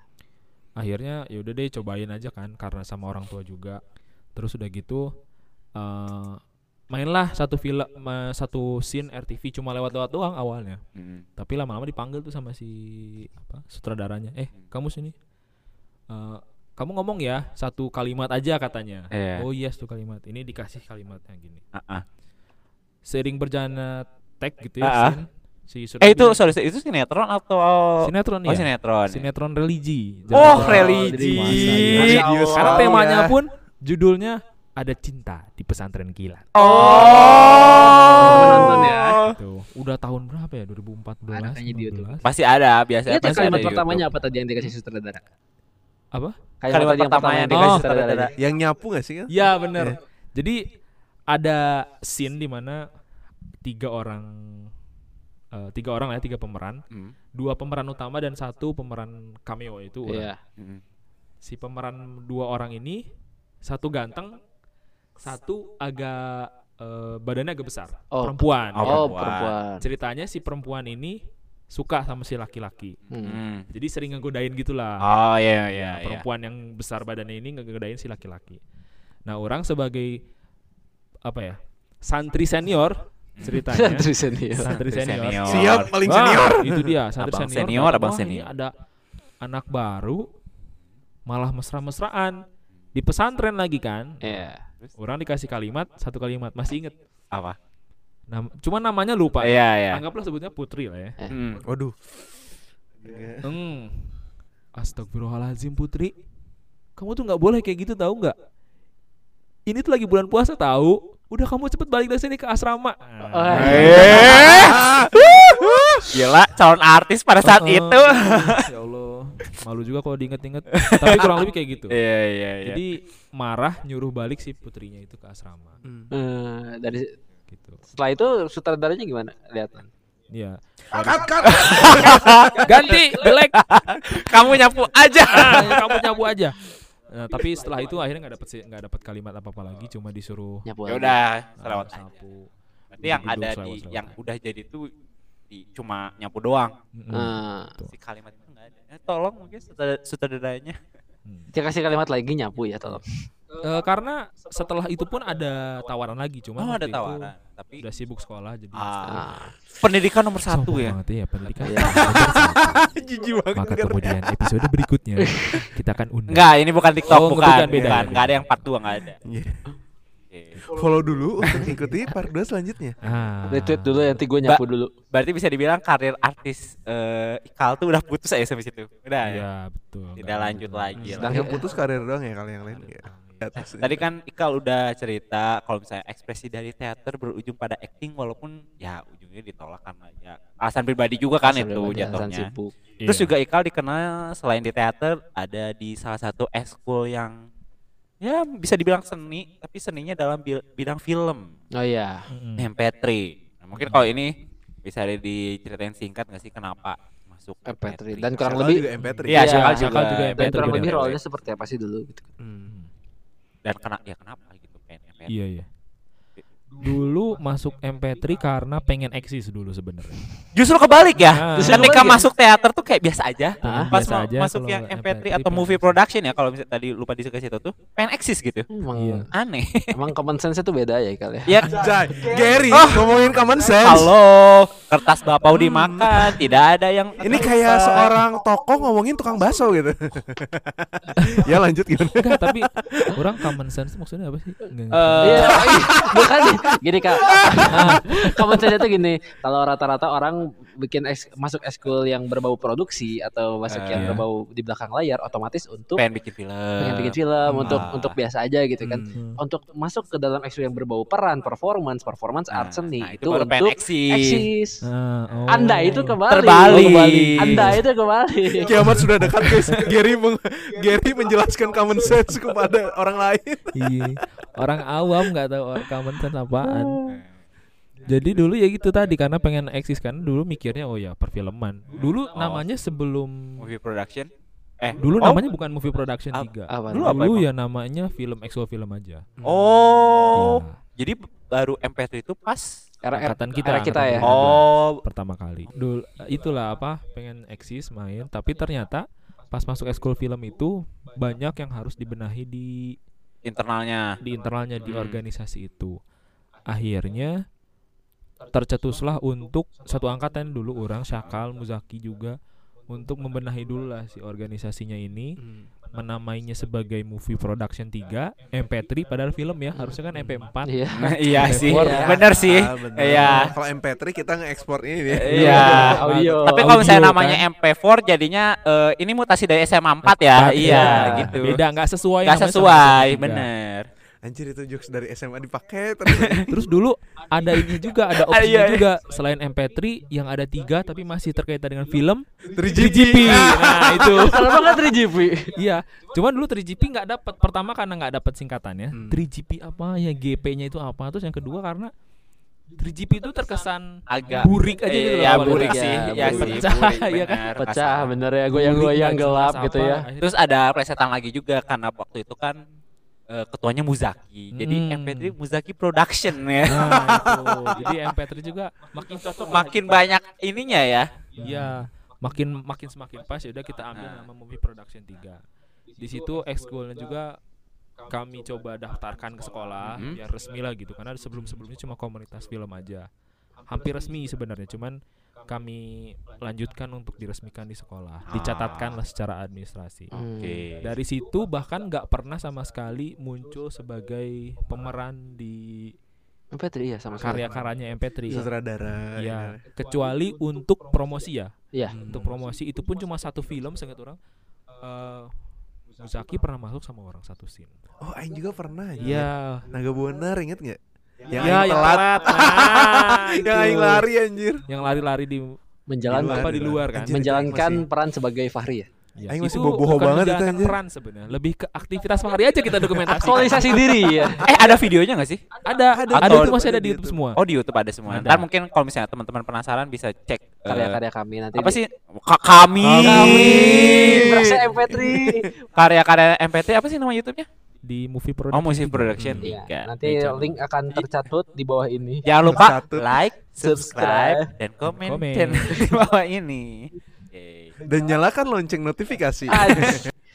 [SPEAKER 7] akhirnya ya udah deh cobain aja kan karena sama orang tua juga terus udah gitu eh mainlah satu film eh, satu scene RTV cuma lewat-lewat doang awalnya
[SPEAKER 1] Mm.
[SPEAKER 7] tapi lama-lama dipanggil tuh sama si apa sutradaranya eh
[SPEAKER 1] Hmm.
[SPEAKER 7] kamu sini Eh, kamu ngomong ya satu kalimat aja katanya
[SPEAKER 1] Iya.
[SPEAKER 7] oh iya satu kalimat ini dikasih kalimatnya gini
[SPEAKER 1] Heeh.
[SPEAKER 7] seiring berjalannya tag gitu ya
[SPEAKER 1] Ah-ah.
[SPEAKER 7] scene, si
[SPEAKER 1] Ah, Eh itu
[SPEAKER 7] sutradara-
[SPEAKER 1] sorry itu sinetron atau
[SPEAKER 7] sinetron
[SPEAKER 1] Oh,
[SPEAKER 7] ya
[SPEAKER 1] sinetron. ya?
[SPEAKER 7] sinetron religi
[SPEAKER 1] Oh,
[SPEAKER 7] Jadi-
[SPEAKER 1] religi.
[SPEAKER 7] Masya
[SPEAKER 4] Allah.
[SPEAKER 7] karena
[SPEAKER 4] Oh,
[SPEAKER 7] temanya
[SPEAKER 4] ya.
[SPEAKER 7] pun judulnya ada cinta di pesantren kilat
[SPEAKER 1] Oh.
[SPEAKER 6] Nonton ya.
[SPEAKER 7] tuh udah tahun berapa ya 2014
[SPEAKER 6] Ada kayaknya di YouTube.
[SPEAKER 7] 15.
[SPEAKER 1] Pasti ada biasa.
[SPEAKER 6] Lihat ya
[SPEAKER 1] pasti
[SPEAKER 6] kalimat
[SPEAKER 1] ada
[SPEAKER 6] pertamanya
[SPEAKER 1] YouTube.
[SPEAKER 6] apa tadi yang dikasih sutradara?
[SPEAKER 7] Apa?
[SPEAKER 6] Kalimat,
[SPEAKER 1] Kalimat
[SPEAKER 6] tadi
[SPEAKER 1] pertama
[SPEAKER 6] yang pertama
[SPEAKER 1] yang
[SPEAKER 6] yang dikasih
[SPEAKER 7] Oh.
[SPEAKER 6] sutradara.
[SPEAKER 4] Yang nyapu gak sih kan?
[SPEAKER 7] Iya bener Jadi ada scene di mana tiga orang eh, tiga orang lah ya tiga pemeran,
[SPEAKER 1] Hmm.
[SPEAKER 7] dua pemeran utama dan satu pemeran cameo itu. orang.
[SPEAKER 6] Iya.
[SPEAKER 1] Mm.
[SPEAKER 7] Si pemeran dua orang ini satu ganteng, satu agak eh, badannya agak besar,
[SPEAKER 6] Oh.
[SPEAKER 7] perempuan. ya.
[SPEAKER 1] Oh,
[SPEAKER 6] Oh,
[SPEAKER 1] perempuan.
[SPEAKER 6] perempuan.
[SPEAKER 7] Ceritanya si perempuan ini suka sama si laki-laki.
[SPEAKER 6] Hmm.
[SPEAKER 1] Mm.
[SPEAKER 7] Jadi sering ngegodain gitu gitulah.
[SPEAKER 1] Oh iya iya
[SPEAKER 7] Nah,
[SPEAKER 1] iya.
[SPEAKER 7] perempuan yang besar badannya ini ngegodain si laki-laki. Nah, orang sebagai apa ya? Santri senior
[SPEAKER 1] Iya,
[SPEAKER 7] ceritanya.
[SPEAKER 6] [LAUGHS] Terus ini ya.
[SPEAKER 7] santri senior.
[SPEAKER 1] Senior.
[SPEAKER 4] Siap paling
[SPEAKER 7] Wah,
[SPEAKER 4] senior.
[SPEAKER 7] itu dia, santri
[SPEAKER 1] Abang
[SPEAKER 7] senior.
[SPEAKER 1] senior,
[SPEAKER 7] Wah,
[SPEAKER 1] abang
[SPEAKER 7] ini
[SPEAKER 1] senior.
[SPEAKER 7] ada anak baru malah mesra-mesraan di pesantren lagi kan.
[SPEAKER 6] Iya.
[SPEAKER 7] Orang dikasih kalimat, satu kalimat masih inget.
[SPEAKER 1] Apa?
[SPEAKER 7] Nam cuma namanya lupa. ya.
[SPEAKER 1] Iya iya.
[SPEAKER 7] Anggaplah sebutnya Putri lah ya.
[SPEAKER 1] Mm.
[SPEAKER 4] Waduh.
[SPEAKER 7] Hmm. Astagfirullahalazim Putri. Kamu tuh nggak boleh kayak gitu tahu nggak? Ini tuh lagi bulan puasa tahu. Udah kamu cepet balik dari sini ke asrama. Ah,
[SPEAKER 6] Oh, iya.
[SPEAKER 1] Eh. Gila, calon artis pada saat
[SPEAKER 7] Eh,
[SPEAKER 1] itu.
[SPEAKER 7] ya Allah. Malu juga kalau
[SPEAKER 1] [LAUGHS]
[SPEAKER 7] diinget-inget. Tapi kurang lebih kayak gitu.
[SPEAKER 1] Iya iya iya.
[SPEAKER 7] Jadi marah nyuruh balik si putrinya itu ke asrama
[SPEAKER 1] Hmm.
[SPEAKER 6] Eh, dari
[SPEAKER 7] gitu.
[SPEAKER 6] setelah itu sutradaranya gimana? Lihat.
[SPEAKER 7] Iya. Ganti jelek.
[SPEAKER 1] Kamu nyapu aja.
[SPEAKER 7] Ah, kamu nyabu aja. Nah, tapi setelah itu akhirnya nggak dapat sih- nggak dapat kalimat apa apa lagi, cuma disuruh
[SPEAKER 6] Nyapu.
[SPEAKER 1] Ya udah,
[SPEAKER 7] ah,
[SPEAKER 1] selawat aja.
[SPEAKER 7] sapu.
[SPEAKER 1] Berarti yang
[SPEAKER 7] Duduk
[SPEAKER 1] ada
[SPEAKER 7] selawat,
[SPEAKER 1] di
[SPEAKER 7] selawat
[SPEAKER 1] yang
[SPEAKER 7] aja.
[SPEAKER 1] udah jadi tuh di, cuma nyapu doang.
[SPEAKER 7] Mm-mm.
[SPEAKER 6] Nah,
[SPEAKER 1] Si kalimat itu enggak ada. Eh, tolong mungkin sutradara- sutradaranya.
[SPEAKER 6] dia kasih kalimat lagi nyapu ya tolong.
[SPEAKER 7] Eh, karena setelah itu pun ada tawaran lagi,
[SPEAKER 1] Oh,
[SPEAKER 7] cuma
[SPEAKER 1] ada
[SPEAKER 7] waktu itu
[SPEAKER 1] tawaran, tapi
[SPEAKER 7] udah sibuk sekolah jadi
[SPEAKER 1] ah,
[SPEAKER 6] Ah.
[SPEAKER 1] pendidikan nomor
[SPEAKER 7] Sombong
[SPEAKER 1] satu ya.
[SPEAKER 7] banget ya pendidikan.
[SPEAKER 6] Iya.
[SPEAKER 4] [LAUGHS]
[SPEAKER 1] [LAUGHS]
[SPEAKER 4] Jijik banget.
[SPEAKER 7] Maka kemudian episode berikutnya kita akan undang.
[SPEAKER 1] Enggak, ini bukan TikTok,
[SPEAKER 7] Oh,
[SPEAKER 1] bukan, bukan.
[SPEAKER 7] bukan, beda, beda.
[SPEAKER 1] Enggak ada yang part 2 enggak ada.
[SPEAKER 4] Iya.
[SPEAKER 1] Oke.
[SPEAKER 4] Follow dulu untuk ikuti part 2 selanjutnya.
[SPEAKER 1] Nah.
[SPEAKER 7] Ah.
[SPEAKER 6] Retweet dulu nanti gue nyapu dulu.
[SPEAKER 1] Berarti bisa dibilang karir artis eh, Ikal tuh udah putus aja sampai situ. Udah ya.
[SPEAKER 7] Iya, betul. Iya.
[SPEAKER 1] Tidak lanjut lagi. lah.
[SPEAKER 4] Yang putus karir doang ya kalau yang lain. ya. Atas.
[SPEAKER 1] Tadi kan Ikal udah cerita kalau misalnya ekspresi dari teater berujung pada acting walaupun ya ujungnya ditolak karena ya alasan pribadi juga kan
[SPEAKER 6] Sambil
[SPEAKER 1] itu
[SPEAKER 6] ada alasan
[SPEAKER 1] jatuhnya.
[SPEAKER 6] sibuk.
[SPEAKER 1] Terus
[SPEAKER 7] Iya.
[SPEAKER 1] juga iya, Ikal dikenal selain di teater ada di salah satu ekskul yang ya bisa dibilang seni tapi seninya dalam bil- bidang film
[SPEAKER 6] Oh iya.
[SPEAKER 7] Hmm.
[SPEAKER 1] MP3. Nah, mungkin kalau ini bisa di- diceritain singkat nggak sih kenapa masuk
[SPEAKER 6] MP3 eh, dan kurang
[SPEAKER 4] Shakal
[SPEAKER 6] lebih
[SPEAKER 4] juga MP3.
[SPEAKER 1] Iya,
[SPEAKER 6] Iya,
[SPEAKER 1] Syakal juga,
[SPEAKER 7] Syakal juga
[SPEAKER 6] dan
[SPEAKER 7] MP3.
[SPEAKER 6] kurang
[SPEAKER 7] Betul,
[SPEAKER 6] lebih
[SPEAKER 7] betul.
[SPEAKER 6] role-nya seperti apa sih dulu gitu.
[SPEAKER 1] dan kena ya kenapa gitu pengen MP3.
[SPEAKER 7] Iya, iya. Dulu masuk MP3 karena pengen eksis dulu sebenarnya.
[SPEAKER 1] Justru kebalik ya.
[SPEAKER 7] Ah. Justru
[SPEAKER 1] Ketika
[SPEAKER 6] kebalik ya?
[SPEAKER 1] masuk teater tuh kayak biasa aja.
[SPEAKER 7] Pengen
[SPEAKER 1] Pas
[SPEAKER 7] biasa
[SPEAKER 1] ma-
[SPEAKER 7] aja
[SPEAKER 1] masuk
[SPEAKER 7] kalau
[SPEAKER 1] yang MP3, atau
[SPEAKER 7] pengen
[SPEAKER 1] movie
[SPEAKER 7] eksis.
[SPEAKER 1] production ya kalau misalnya tadi lupa disebut itu tuh pengen eksis gitu.
[SPEAKER 6] Emang
[SPEAKER 7] Iya.
[SPEAKER 1] Aneh.
[SPEAKER 6] emang common sense itu beda ya kali ya.
[SPEAKER 1] [LAUGHS] ya
[SPEAKER 4] Jai, Gary ngomongin common sense.
[SPEAKER 1] halo, kertas bapau dimakan, tidak ada yang
[SPEAKER 4] Ini kayak seorang tokoh ngomongin tukang bakso gitu. ya lanjut gitu.
[SPEAKER 7] Enggak,
[SPEAKER 1] [LAUGHS]
[SPEAKER 7] tapi orang common sense maksudnya apa sih? Enggak.
[SPEAKER 1] Eh,
[SPEAKER 6] Iya, [LAUGHS] bukan gini kak. Ah, common sense itu gini, kalau rata-rata orang bikin es- masuk eskul yang berbau produksi atau masuk yang
[SPEAKER 7] Eh.
[SPEAKER 6] berbau di belakang layar otomatis untuk
[SPEAKER 1] pengen bikin film
[SPEAKER 6] pengen bikin film untuk
[SPEAKER 1] Ah.
[SPEAKER 6] untuk biasa aja gitu kan.
[SPEAKER 7] Hmm.
[SPEAKER 6] Untuk masuk ke dalam ekskul yang berbau peran, performance, performance
[SPEAKER 1] Nah,
[SPEAKER 6] art seni
[SPEAKER 1] nah,
[SPEAKER 6] itu,
[SPEAKER 1] baru pengen
[SPEAKER 6] untuk
[SPEAKER 1] aksi.
[SPEAKER 6] eksis.
[SPEAKER 7] Ah, oh. Iya.
[SPEAKER 6] Anda
[SPEAKER 1] ya?
[SPEAKER 6] itu kembali.
[SPEAKER 1] Terbalik.
[SPEAKER 6] Anda itu kembali.
[SPEAKER 4] Kiamat sudah dekat guys. Gary meng- Gary menjelaskan common sense kepada orang lain.
[SPEAKER 7] Iya. Orang awam nggak tahu or- common sense apaan. Jadi dulu ya gitu tadi karena pengen eksis kan dulu mikirnya oh ya perfilman. Dulu namanya sebelum
[SPEAKER 1] movie production eh
[SPEAKER 7] dulu
[SPEAKER 1] iya. oh,
[SPEAKER 7] namanya bukan movie production
[SPEAKER 1] Ap-
[SPEAKER 7] 3.
[SPEAKER 6] apa
[SPEAKER 7] Dulu,
[SPEAKER 1] apa emang?
[SPEAKER 7] ya namanya film exo film aja.
[SPEAKER 1] oh
[SPEAKER 6] Iya.
[SPEAKER 7] Ya,
[SPEAKER 1] jadi baru MP3 itu pas
[SPEAKER 6] Era, era,
[SPEAKER 7] angkatan kita.
[SPEAKER 6] era kita
[SPEAKER 7] angkatan
[SPEAKER 6] ya.
[SPEAKER 7] kita.
[SPEAKER 1] oh
[SPEAKER 7] pertama kali. Dulu itulah apa pengen eksis main tapi ternyata pas masuk ekskul film itu banyak yang harus dibenahi di
[SPEAKER 1] internalnya [LAUGHS]
[SPEAKER 7] di internalnya di
[SPEAKER 1] Hmm.
[SPEAKER 7] organisasi itu akhirnya tercetuslah untuk satu angkatan dulu orang Syakal Muzaki juga untuk membenahi dulu lah si organisasinya ini menamainya sebagai movie production 3 MP3 padahal film ya harusnya kan MP4
[SPEAKER 6] Iya.
[SPEAKER 1] iya sih
[SPEAKER 7] sih.
[SPEAKER 6] Iya.
[SPEAKER 1] bener sih
[SPEAKER 4] Ah, bener.
[SPEAKER 1] Iya.
[SPEAKER 4] Kalau MP3 kita nge-export ini dia.
[SPEAKER 1] Iya.
[SPEAKER 6] Audio.
[SPEAKER 1] Tapi kalau misalnya
[SPEAKER 7] Audio,
[SPEAKER 1] namanya
[SPEAKER 7] kan?
[SPEAKER 1] MP4 jadinya eh, ini mutasi dari SMA 4 ya. [LAUGHS] iya, gitu.
[SPEAKER 7] beda nggak sesuai
[SPEAKER 1] Nggak
[SPEAKER 7] namanya sama
[SPEAKER 1] sesuai,
[SPEAKER 7] MP3.
[SPEAKER 1] bener.
[SPEAKER 4] Anjir itu jokes dari SMA dipakai terus.
[SPEAKER 7] terus dulu ada ini juga
[SPEAKER 1] [LAUGHS]
[SPEAKER 7] ada
[SPEAKER 1] Ah, iya, iya.
[SPEAKER 7] opsinya juga selain MP3 yang ada tiga tapi masih terkaitan dengan film
[SPEAKER 4] 3GP.
[SPEAKER 7] nah itu
[SPEAKER 6] Kalau banget 3GP.
[SPEAKER 7] Iya, cuman dulu 3GP nggak dapat. Pertama karena nggak dapat singkatannya.
[SPEAKER 4] Hmm.
[SPEAKER 7] 3GP apa ya GP-nya itu apa? Terus yang kedua karena 3GP itu terkesan
[SPEAKER 1] Agak
[SPEAKER 7] burik aja gitu
[SPEAKER 1] ya,
[SPEAKER 7] awalnya.
[SPEAKER 1] burik
[SPEAKER 6] ya.
[SPEAKER 1] sih. Ya, sih,
[SPEAKER 6] Burik.
[SPEAKER 7] Pecah,
[SPEAKER 1] burik,
[SPEAKER 7] iya kan?
[SPEAKER 1] bener.
[SPEAKER 6] Pecah
[SPEAKER 1] Asal.
[SPEAKER 6] bener ya
[SPEAKER 7] Burik,
[SPEAKER 6] goyang-goyang
[SPEAKER 7] nggak
[SPEAKER 6] gelap
[SPEAKER 7] jelas
[SPEAKER 6] gitu
[SPEAKER 7] apa.
[SPEAKER 6] ya.
[SPEAKER 7] Akhirnya-
[SPEAKER 1] Terus ada plesetan lagi juga karena waktu itu kan eh, ketuanya Muzaki. Jadi
[SPEAKER 7] Hmm.
[SPEAKER 1] MP3 Muzaki Production ya. [LAUGHS]
[SPEAKER 7] Nah, itu. Jadi MP3 juga makin cocok
[SPEAKER 1] Makin banyak ininya ya.
[SPEAKER 7] Iya, makin makin semakin pas ya udah kita ambil
[SPEAKER 1] Nah.
[SPEAKER 7] nama movie production 3. Di situ ekskulnya juga kami coba daftarkan ke sekolah
[SPEAKER 1] Mhm.
[SPEAKER 7] biar resmi lah gitu karena sebelum-sebelumnya cuma komunitas film aja. Hampir resmi sebenarnya, cuman kami lanjutkan untuk diresmikan di sekolah, dicatatkan lah secara administrasi. Dari situ bahkan nggak pernah sama sekali muncul sebagai pemeran di
[SPEAKER 6] MP3 ya sama sekali.
[SPEAKER 7] karya-karyanya MP3.
[SPEAKER 4] Iya. Sutradara. kan?
[SPEAKER 7] Ya, kecuali untuk promosi ya.
[SPEAKER 6] Iya.
[SPEAKER 7] Untuk promosi itu pun cuma satu film seingat orang. eh Muzaki pernah masuk sama orang satu scene.
[SPEAKER 4] Oh, Aing juga pernah. anjir.
[SPEAKER 7] Iya.
[SPEAKER 4] Naga Buana inget nggak? Yang
[SPEAKER 7] Iya,
[SPEAKER 4] Aing
[SPEAKER 7] yang
[SPEAKER 4] telat.
[SPEAKER 7] telat. Nah,
[SPEAKER 4] yang Aing
[SPEAKER 7] itu.
[SPEAKER 4] lari anjir.
[SPEAKER 7] Yang lari-lari di
[SPEAKER 6] Menjalankan
[SPEAKER 7] apa di luar kan?
[SPEAKER 4] Anjir, itu
[SPEAKER 6] menjalankan
[SPEAKER 4] Aing
[SPEAKER 6] peran sebagai Fahri ya.
[SPEAKER 7] Ya,
[SPEAKER 4] Aing masih
[SPEAKER 7] itu
[SPEAKER 4] boboho
[SPEAKER 7] bukan
[SPEAKER 4] banget itu,
[SPEAKER 7] menjalankan
[SPEAKER 4] anjir.
[SPEAKER 7] peran sebenarnya. Lebih ke aktivitas sehari aja kita dokumentasi.
[SPEAKER 6] Aktualisasi diri ya.
[SPEAKER 1] Eh ada videonya gak sih?
[SPEAKER 7] ada, ada,
[SPEAKER 1] Atau-
[SPEAKER 7] itu masih ada
[SPEAKER 4] ada
[SPEAKER 7] di
[SPEAKER 4] di
[SPEAKER 7] YouTube semua.
[SPEAKER 1] Oh di YouTube ada semua.
[SPEAKER 7] Ada.
[SPEAKER 1] Ntar mungkin kalau misalnya teman-teman penasaran bisa cek eh,
[SPEAKER 6] Karya-karya kami nanti.
[SPEAKER 1] apa
[SPEAKER 6] di-
[SPEAKER 1] sih Ka- kami,
[SPEAKER 6] Merasa MP3.
[SPEAKER 7] [LAUGHS]
[SPEAKER 1] karya-karya MPT apa sih nama YouTube-nya?
[SPEAKER 7] Di movie production.
[SPEAKER 1] Oh, Musik Production
[SPEAKER 7] Hmm.
[SPEAKER 6] Iya.
[SPEAKER 1] 3.
[SPEAKER 6] Nanti link akan tercatut di bawah ini.
[SPEAKER 7] Ya,
[SPEAKER 1] Jangan lupa
[SPEAKER 4] Satu.
[SPEAKER 1] like,
[SPEAKER 6] Subscribe,
[SPEAKER 1] subscribe, dan komen,
[SPEAKER 7] komen.
[SPEAKER 1] dan di bawah ini. Oke.
[SPEAKER 4] Dan nyalakan lonceng notifikasi.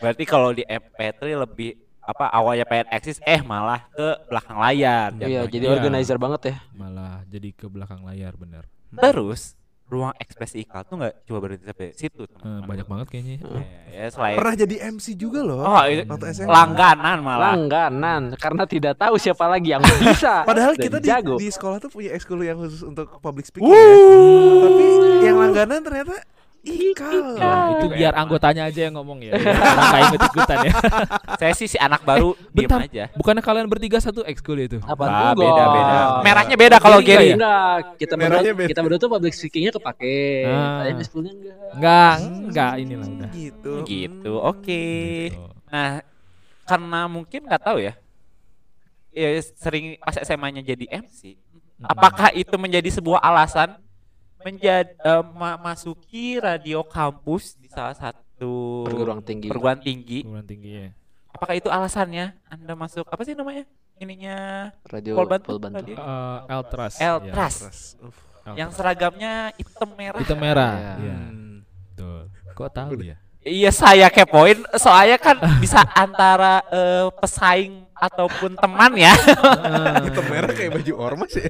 [SPEAKER 1] Berarti kalau di MP3 lebih apa awalnya pengen eksis eh malah ke belakang layar.
[SPEAKER 6] Iya, jadi
[SPEAKER 7] Iya.
[SPEAKER 6] organizer banget ya.
[SPEAKER 7] Malah jadi ke belakang layar bener.
[SPEAKER 1] Terus ruang ekspresi ikal tuh nggak cuma berhenti sampai situ.
[SPEAKER 7] Eh,
[SPEAKER 1] teman-teman.
[SPEAKER 7] banyak banget kayaknya.
[SPEAKER 1] Ya, selain
[SPEAKER 4] Pernah jadi MC juga loh.
[SPEAKER 1] Oh, itu-
[SPEAKER 4] waktu SMA.
[SPEAKER 1] langganan malah.
[SPEAKER 6] Langganan karena tidak tahu siapa lagi yang bisa.
[SPEAKER 4] Padahal
[SPEAKER 6] dan
[SPEAKER 4] kita di,
[SPEAKER 6] jago.
[SPEAKER 4] di sekolah tuh punya ekskul yang khusus untuk public speaking ya. Tapi yang langganan ternyata
[SPEAKER 7] Ya,
[SPEAKER 4] Ikal.
[SPEAKER 7] itu
[SPEAKER 1] Kayak
[SPEAKER 7] biar
[SPEAKER 1] emang.
[SPEAKER 7] anggotanya aja yang ngomong ya. Kayak ikut-ikutan ya.
[SPEAKER 1] Saya sih si anak baru diem
[SPEAKER 7] Eh, Bentar,
[SPEAKER 1] aja.
[SPEAKER 7] bukannya kalian bertiga satu ekskul itu?
[SPEAKER 6] Apa
[SPEAKER 1] Ah,
[SPEAKER 6] enggak?
[SPEAKER 1] beda-beda.
[SPEAKER 4] Ah.
[SPEAKER 1] Merahnya beda kalau
[SPEAKER 7] Beda
[SPEAKER 1] Gary.
[SPEAKER 7] ya?
[SPEAKER 6] Enggak, kita berdua
[SPEAKER 4] Merahnya beda.
[SPEAKER 6] kita berdua tuh public speaking-nya kepake.
[SPEAKER 7] Ah.
[SPEAKER 6] Tanya misalnya enggak.
[SPEAKER 7] Enggak, enggak inilah udah.
[SPEAKER 4] Gitu.
[SPEAKER 1] Gitu. Oke.
[SPEAKER 7] Gitu.
[SPEAKER 1] Nah, karena mungkin nggak tahu ya. Ya sering pas SMA-nya jadi MC.
[SPEAKER 7] Hmm.
[SPEAKER 1] Apakah itu menjadi sebuah alasan menjadi masuki radio kampus di salah satu
[SPEAKER 6] Perguruan tinggi.
[SPEAKER 1] perguruan tinggi?
[SPEAKER 7] Perguruan tinggi ya.
[SPEAKER 1] Apakah itu alasannya Anda masuk apa sih namanya? Ininya
[SPEAKER 6] Radio
[SPEAKER 1] Polbantu,
[SPEAKER 6] Polbantu.
[SPEAKER 1] radio.
[SPEAKER 7] Eh, Eltras.
[SPEAKER 1] Eltras
[SPEAKER 4] Keras. Uf.
[SPEAKER 7] Ya,
[SPEAKER 1] yang
[SPEAKER 7] Eltras.
[SPEAKER 1] seragamnya hitam merah.
[SPEAKER 7] hitam merah.
[SPEAKER 6] Iya.
[SPEAKER 7] Iya.
[SPEAKER 4] Hmm.
[SPEAKER 7] Betul. Kok tahu ya?
[SPEAKER 1] Iya saya kepoin soalnya kan bisa antara eh, pesaing ataupun teman ya.
[SPEAKER 7] Eh,
[SPEAKER 4] Hitam merah kayak baju ormas ya.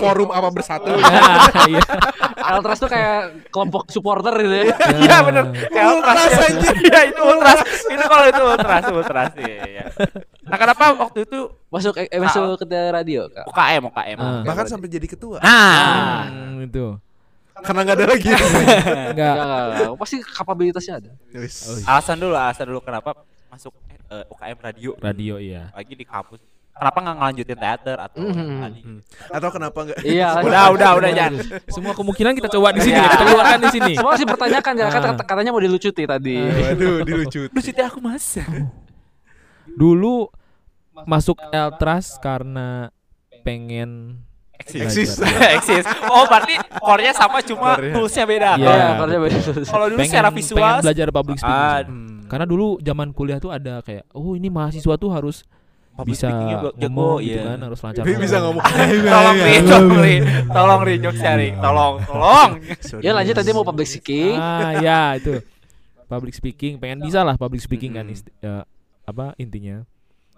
[SPEAKER 4] Forum apa bersatu.
[SPEAKER 7] [LAUGHS] Iya.
[SPEAKER 6] Altras tuh kayak kelompok supporter gitu ya.
[SPEAKER 1] Iya benar. Kayak ultras
[SPEAKER 4] Ultras
[SPEAKER 1] [LAUGHS] ya.
[SPEAKER 4] aja.
[SPEAKER 1] Iya itu ultras. Itu kalau itu ultras, ultras iya, iya. Nah kenapa waktu itu
[SPEAKER 6] Masuk eh,
[SPEAKER 1] Ah.
[SPEAKER 6] masuk ke radio, Kak.
[SPEAKER 1] UKM, UKM?
[SPEAKER 7] Ah.
[SPEAKER 4] Bahkan sampai jadi ketua.
[SPEAKER 1] Nah,
[SPEAKER 7] Hmm, itu.
[SPEAKER 4] Karena nggak ada lagi.
[SPEAKER 7] Enggak.
[SPEAKER 6] Enggak, enggak, enggak. Pasti kapabilitasnya ada.
[SPEAKER 4] Wis.
[SPEAKER 1] Alasan dulu, alasan dulu kenapa masuk eh, UKM radio.
[SPEAKER 7] Radio iya.
[SPEAKER 1] Lagi di kampus. Kenapa nggak ngelanjutin teater atau
[SPEAKER 6] Mhm.
[SPEAKER 1] tadi?
[SPEAKER 4] Atau kenapa nggak?
[SPEAKER 6] Iya.
[SPEAKER 1] Udah, udah, udah jangan.
[SPEAKER 7] Semua kemungkinan kita coba di sini,
[SPEAKER 1] Iya.
[SPEAKER 7] kita keluarkan di sini.
[SPEAKER 6] Semua masih pertanyakan ya, kan
[SPEAKER 7] Ah.
[SPEAKER 6] kata- katanya mau dilucuti tadi.
[SPEAKER 1] Ah.
[SPEAKER 4] Waduh, dilucuti.
[SPEAKER 1] Lu cerita aku mas.
[SPEAKER 7] Dulu masuk Eltras karena pengen
[SPEAKER 1] [LAUGHS]
[SPEAKER 4] Eksis.
[SPEAKER 7] belajar.
[SPEAKER 1] Eksis. Oh berarti core-nya sama cuma
[SPEAKER 4] Core-nya.
[SPEAKER 1] toolsnya beda.
[SPEAKER 7] Iya,
[SPEAKER 6] Iya, karena
[SPEAKER 1] Kalau dulu secara visual.
[SPEAKER 7] pengen belajar public speaking.
[SPEAKER 1] Ah,
[SPEAKER 4] Hmm.
[SPEAKER 7] Karena dulu zaman kuliah tuh ada kayak oh ini mahasiswa tuh harus
[SPEAKER 1] public
[SPEAKER 7] bisa
[SPEAKER 1] speaking-nya gua- jago,
[SPEAKER 7] ngomong gitu
[SPEAKER 1] iya.
[SPEAKER 7] kan, harus lancar.
[SPEAKER 4] Dia bisa ngomong.
[SPEAKER 7] Iya,
[SPEAKER 1] Tolong ri, tolong ri, tolong ri jok sharing, tolong, tolong.
[SPEAKER 4] Sorry.
[SPEAKER 6] Ya lanjut tadi mau public speaking.
[SPEAKER 7] Ah ya itu. Public speaking, pengen bisa lah public speaking kan
[SPEAKER 4] Mm-mm.
[SPEAKER 7] isti- ya, apa intinya.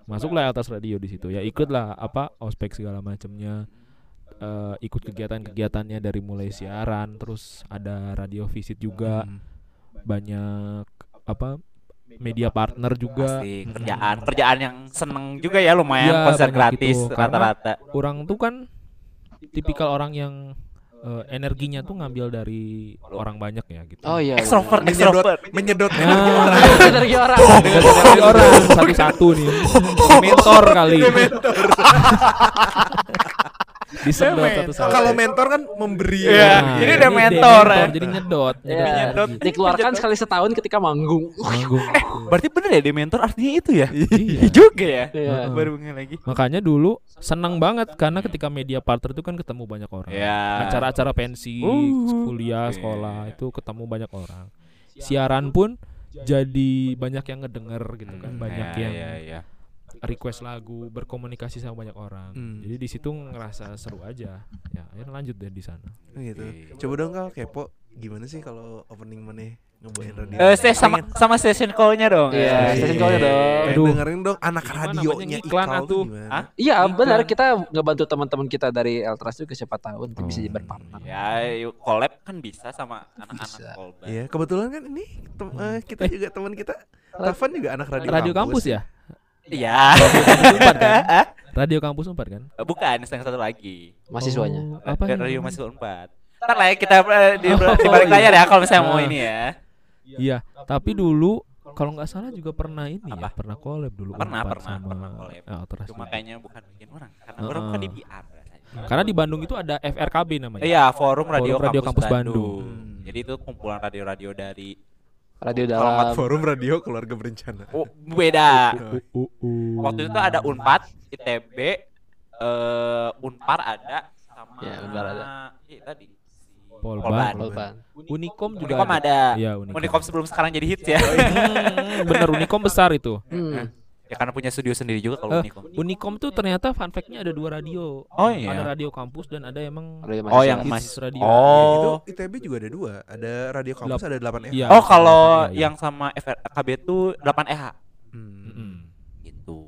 [SPEAKER 7] Masuklah atas radio di situ. Ya ikutlah apa ospek segala macamnya. Eh, ikut kegiatan-kegiatannya dari mulai siaran, terus ada radio visit juga,
[SPEAKER 4] Hmm.
[SPEAKER 7] banyak apa media partner juga.
[SPEAKER 1] Pasti
[SPEAKER 7] Mm-mm.
[SPEAKER 1] kerjaan, kerjaan yang seneng juga ya lumayan
[SPEAKER 7] Iya,
[SPEAKER 1] konser
[SPEAKER 7] banyak
[SPEAKER 1] gratis
[SPEAKER 7] gitu. Karena-
[SPEAKER 1] rata-rata.
[SPEAKER 7] orang tuh kan tipikal orang yang eh, energinya tuh ngambil dari orang banyak ya gitu.
[SPEAKER 6] Oh
[SPEAKER 1] [LAUGHS]
[SPEAKER 6] iya.
[SPEAKER 1] Extrovert,
[SPEAKER 4] Menyedot,
[SPEAKER 1] extrovert.
[SPEAKER 4] menyedot.
[SPEAKER 7] Nah,
[SPEAKER 6] Dari orang.
[SPEAKER 7] dengan dari orang satu-satu nih. Mentor kali. Disedot satu-satu.
[SPEAKER 4] Kalau mentor kan memberi.
[SPEAKER 1] Iya.
[SPEAKER 7] Nah,
[SPEAKER 1] ini udah mentor ya.
[SPEAKER 7] Jadi nyedot, nyedot
[SPEAKER 6] Iya.
[SPEAKER 7] energi.
[SPEAKER 6] Dikeluarkan sekali setahun ketika manggung.
[SPEAKER 7] Manggung.
[SPEAKER 1] Berarti bener ya dementor artinya itu ya?
[SPEAKER 7] Iya.
[SPEAKER 1] [LAUGHS] Iya juga ya.
[SPEAKER 6] Iya.
[SPEAKER 7] Heeh.
[SPEAKER 1] Baru ngeh lagi.
[SPEAKER 7] Makanya dulu senang banget karena ketika media partner itu kan ketemu banyak orang.
[SPEAKER 1] Ya.
[SPEAKER 7] acara-acara pensi,
[SPEAKER 1] Uh.
[SPEAKER 7] kuliah,
[SPEAKER 1] Oke.
[SPEAKER 7] sekolah itu ketemu banyak orang. Siaran pun jadi banyak yang ngedenger gitu
[SPEAKER 1] Iya, Hmm,
[SPEAKER 7] kan, banyak yang
[SPEAKER 1] ya.
[SPEAKER 7] request lagu, berkomunikasi sama banyak orang.
[SPEAKER 4] Hmm.
[SPEAKER 7] Jadi di situ ngerasa seru aja. Ya, akhirnya lanjut deh di sana.
[SPEAKER 4] Gitu. Coba dong kal kepo gimana sih kalau opening mana ngebawain radio?
[SPEAKER 1] Eh, saya sama sama session call-nya dong. Eh,
[SPEAKER 6] Iya, station call-nya dong.
[SPEAKER 4] Pengen
[SPEAKER 7] Aduh.
[SPEAKER 4] dengerin dong anak
[SPEAKER 7] Gimana
[SPEAKER 4] radionya
[SPEAKER 7] namanya iklan
[SPEAKER 4] iklan
[SPEAKER 7] atuh?
[SPEAKER 4] tuh gimana?
[SPEAKER 1] Hah?
[SPEAKER 6] Iya benar kita ngebantu teman-teman kita dari Eltras juga siapa tahu nanti bisa
[SPEAKER 7] Oh.
[SPEAKER 6] jadi berpartner.
[SPEAKER 1] Ya, yuk, collab kan bisa sama anak-anak
[SPEAKER 6] Bisa.
[SPEAKER 1] kolban.
[SPEAKER 4] Iya, kebetulan kan ini tem- eh, kita juga teman kita Tavan juga anak radio,
[SPEAKER 7] Radio kampus ya?
[SPEAKER 1] Iya.
[SPEAKER 7] Empat kan? Radio kampus empat kan?
[SPEAKER 1] [LAUGHS] Bukan, yang satu lagi.
[SPEAKER 6] Mahasiswanya.
[SPEAKER 7] Oh, apa?
[SPEAKER 1] Eh,
[SPEAKER 7] ya
[SPEAKER 1] Radio
[SPEAKER 7] namanya?
[SPEAKER 1] Mahasiswa 4. Ntar lah ya kita eh, di,
[SPEAKER 7] Oh,
[SPEAKER 1] di balik
[SPEAKER 7] iya.
[SPEAKER 1] layar ya kalau misalnya mau
[SPEAKER 7] Ah.
[SPEAKER 1] ini ya.
[SPEAKER 7] Iya, tapi dulu kalau nggak salah juga pernah ini ya,
[SPEAKER 1] Apa?
[SPEAKER 7] pernah collab dulu
[SPEAKER 1] Pernah,
[SPEAKER 7] Unpad
[SPEAKER 1] pernah,
[SPEAKER 7] sama
[SPEAKER 1] pernah collab.
[SPEAKER 7] eh, Ultras.
[SPEAKER 1] Cuma kayaknya bukan bikin orang karena
[SPEAKER 7] Heeh.
[SPEAKER 1] orang kan di PR. rasanya.
[SPEAKER 7] Karena di Bandung itu ada FRKB namanya.
[SPEAKER 1] Iya, forum radio,
[SPEAKER 7] Radio
[SPEAKER 1] kampus,
[SPEAKER 7] Kampus
[SPEAKER 1] Bandung.
[SPEAKER 7] Bandung.
[SPEAKER 4] Hmm.
[SPEAKER 1] Jadi itu kumpulan radio-radio dari
[SPEAKER 6] Radio
[SPEAKER 4] Alamat
[SPEAKER 7] Um,
[SPEAKER 6] dalam.
[SPEAKER 4] forum radio keluarga berencana.
[SPEAKER 1] oh, beda.
[SPEAKER 4] Oh,
[SPEAKER 7] Uh, uh.
[SPEAKER 1] Waktu itu ada Unpad, ITB, eh Unpar ada sama
[SPEAKER 6] Ya, Unpar ada.
[SPEAKER 1] Iya, tadi si
[SPEAKER 7] Polban.
[SPEAKER 1] Polban.
[SPEAKER 6] Polban.
[SPEAKER 7] Unikom juga
[SPEAKER 1] Unicom ada.
[SPEAKER 7] Iya, Unicom. Iya,
[SPEAKER 1] Unicom sebelum sekarang jadi hits ya.
[SPEAKER 7] Hmm, bener Unicom besar itu.
[SPEAKER 6] Hmm.
[SPEAKER 1] [LAUGHS] ya karena punya studio sendiri juga kalau
[SPEAKER 7] Eh,
[SPEAKER 1] Unicom.
[SPEAKER 7] Unicom tuh ternyata fun fact-nya ada dua radio.
[SPEAKER 1] Oh, iya.
[SPEAKER 7] Ada radio kampus dan ada emang
[SPEAKER 6] Radio
[SPEAKER 1] Oh, yang
[SPEAKER 6] mahasiswa.
[SPEAKER 1] Mas-
[SPEAKER 7] hits radio. Iya, gitu.
[SPEAKER 1] Oh.
[SPEAKER 4] Itu ITB juga ada dua, ada radio kampus,
[SPEAKER 7] Lap-
[SPEAKER 4] ada 8 F.
[SPEAKER 7] Iya.
[SPEAKER 6] Kan
[SPEAKER 1] Oh, kalau
[SPEAKER 7] Iya, iya.
[SPEAKER 1] yang sama FKB itu 8EH.
[SPEAKER 7] Mm-mm.
[SPEAKER 1] Gitu.